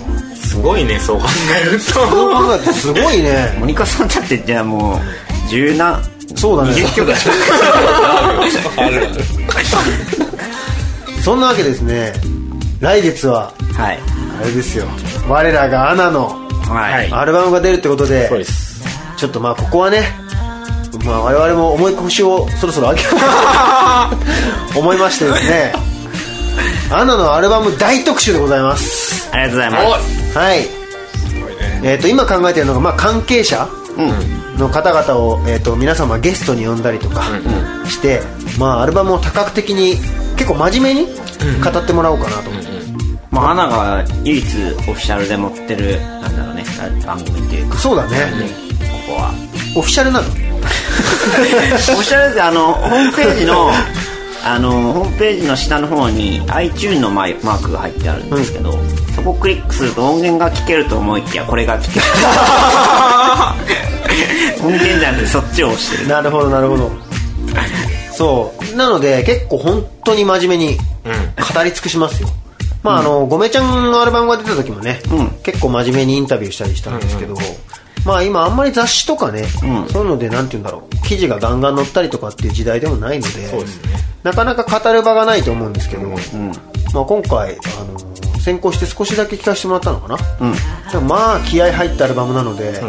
B: すごいねそう考える
A: そう
B: と
A: 考えるとすごいね
C: モニカさんだってじゃあもう十何
A: そうだね
C: 20曲だよ
A: *laughs* そんなわけですね来月は
C: はい
A: あれですよ我らがアナの
C: はい、
A: アルバムが出るってことで
B: そうです
A: ちょっとまあここはねまあ我々も重い腰をそろそろ上げよ
B: *laughs*
A: う思いましてですねアナのアルバム大特集でございます
C: ありがとうございます
A: はい。えっ、と今考えてるのがまあ関係者の方々をえっ、と皆様ゲストに呼んだりとかして、まあアルバムを多角的に結構真面目に語ってもらおうかなと。
C: まあアナが唯一オフィシャルで持ってるなんだろうね番組っていうか
A: そうだね。
C: ここは
A: オフィシャルなの。
C: オフィシャルですあのホームページ *laughs* のあのホームページの下の方に iTune のマイマークが入ってあるんですけど、そこをクリックすると音源が聴けると思いきやこれが聴 *laughs* ける音源じゃなくてそっちを押してる
A: なるほどなるほど。そうなので結構本当に真面目に語り尽くしますよ。まああの、ごめちゃんのアルバムが出た時もね、結構真面目にインタビューしたりしたんですけど、まあ今あんまり雑誌とかね、そういうのでなんて言うんだろう記事がガンガン載ったりとかっていう時代でもないのでなかなか語る場がないと思うんですけど、まあ、今回、あの先行して少しだけ聞かせてもらったのかな、でもまあ気合入ったアルバムなので、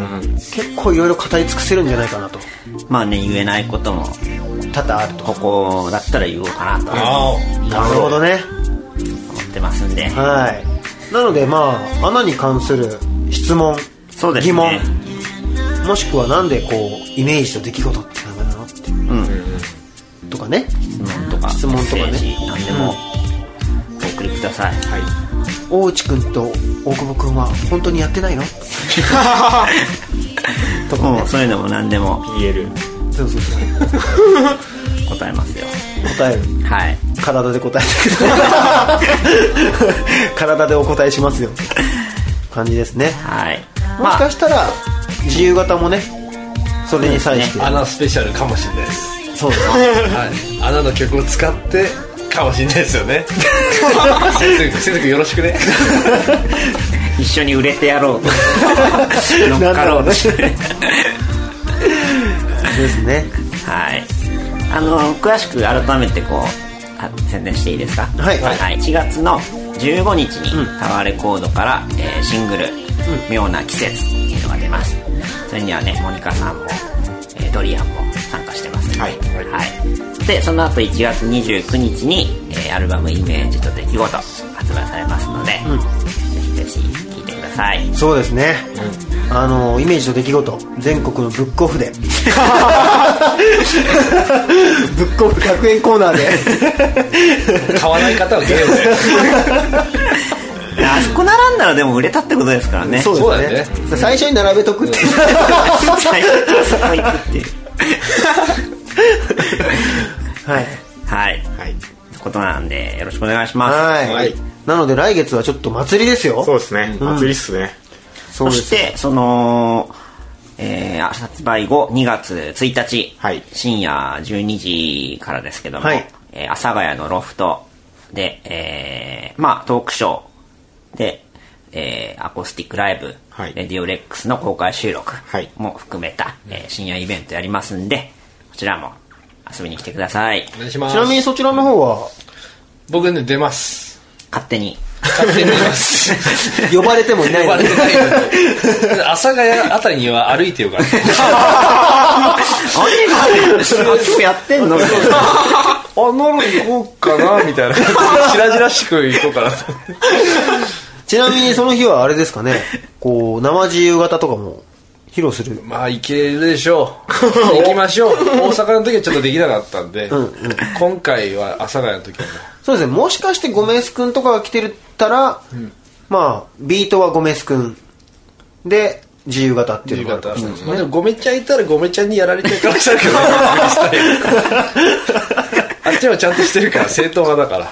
A: 結構いろいろ語り尽くせるんじゃないかなと
C: まあね言えないことも
A: 多々あると
C: ここだったら言おうかなと
D: あ
A: なるほどね
C: 思ってますんで
A: はいなのでまあ穴に関する質問
C: そうです
A: 疑問
C: ね
A: もしくはなんでこうイメージと出来事ってなんだろうって、とかね
C: 質問とか
A: 質問とかね
C: メッセージ何でもお送りください、
A: 大内くんと大久保くんは本当にやってないのとか
C: も
A: ね
C: うそういうのも何でも
B: 言える
A: そうそうそう
C: 答えますよ
A: 答える
C: はい
A: *laughs* 体で答えてくださ *laughs* い体でお答えしますよ感じですね
C: はい
A: もし
C: まあ
A: かしたら自由形もねそれに際して
D: あ *laughs* 穴スペシャルかもしれないです
A: そうですね
D: はい、穴の曲を使ってかもしれないですよ *laughs* ね先生先生君よろしくね
C: 一緒に売れてや *laughs* ろうと乗っかろうとして
A: ですね
C: はい。あの、詳しく改めてこう、あ宣伝していいですか
A: はい
C: 1月の15日にタワーレコードから、えーシングル、妙な季節っていうのが出ます。それにはね、モニカさんも、えードリアンも参加してますので、
B: はいはい
C: はいで、その後1月29日に、えーアルバムイメージと出来事発売されますので、ぜひぜひ聴いてください。
A: そうですね、あのイメージと出来事全国の *laughs* ブックオフでブックオフ100円コーナーで
D: 買わない方はゲームで
C: あそこ並んだらでも売れたってことですからね。
A: *laughs* そうです
D: そう
A: ね最初に並べとくっていう
C: 最初からそこ行くっていう。
A: はい
C: はい。
B: はい
C: ことなんで、よろしくお願いします。
A: はい、
B: はい
A: なので来月はちょっと祭りですよ
B: そうですね祭りっすね
A: そ
C: そう
A: で
C: し
A: す
C: て、その、えー、発売後、2月1日、
B: はい
C: 深夜12時からですけども、
A: はい
C: えー阿佐ヶ谷のロフトで、えー、まあ、トークショーで、えー、アコースティックライブ、
B: はい
C: レディオレックスの公開収録
B: はい
C: も含めた、えー深夜イベントやりますんで、こちらも遊びに来てください。
D: お願いしま
A: ちなみ
D: す
A: にそちらの方は
D: 僕ね出ます
C: 勝手
B: *laughs*
C: に。
D: 勝手に出ます *laughs*
A: 呼ばれてもいない
D: 呼
A: の
D: ば
A: で *laughs*
D: れてないので阿佐ヶ谷あたりには歩いてよかっ
C: あ
D: た
C: れ今日やってんの
D: あ、なる行こうかな、みたい *laughs* な。しらじらしく行こうかなと。
A: ちなみにその日はあれですかねこう生自由形とかも披露する
D: まあ、行けるでしょう。行きましょう。大阪の時はちょっとできなかったんで、今回は阿佐ヶ谷の時はも
A: そうですねもしかしてゴメス君とかが来てるったら、まあビートはゴメス君で自由形って
D: う、
A: いうの
D: 夕
A: が
D: 方
A: あ
D: あ
A: る
D: ったんです。まあでも、ごめちゃんいたらごめちゃんにやられちゃう *laughs* 可能性あるけどねあっちはちゃんとしてるから、正当派だから。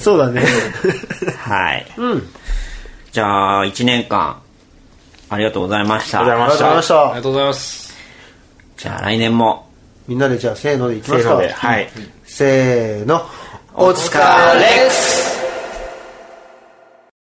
A: そうだね
C: はい。じゃあ、1年間、ありがとうございました。
B: ありがとう
A: ありが
B: ご
A: とうございま
B: ざいまし
A: した
D: ありが
A: た
D: とうございます。
C: じゃあ、来年も。
A: みんなでじゃあせーのでいき
B: せ
A: ま
B: ー
A: す
B: の
A: か
B: ではい
A: せーのお疲れっす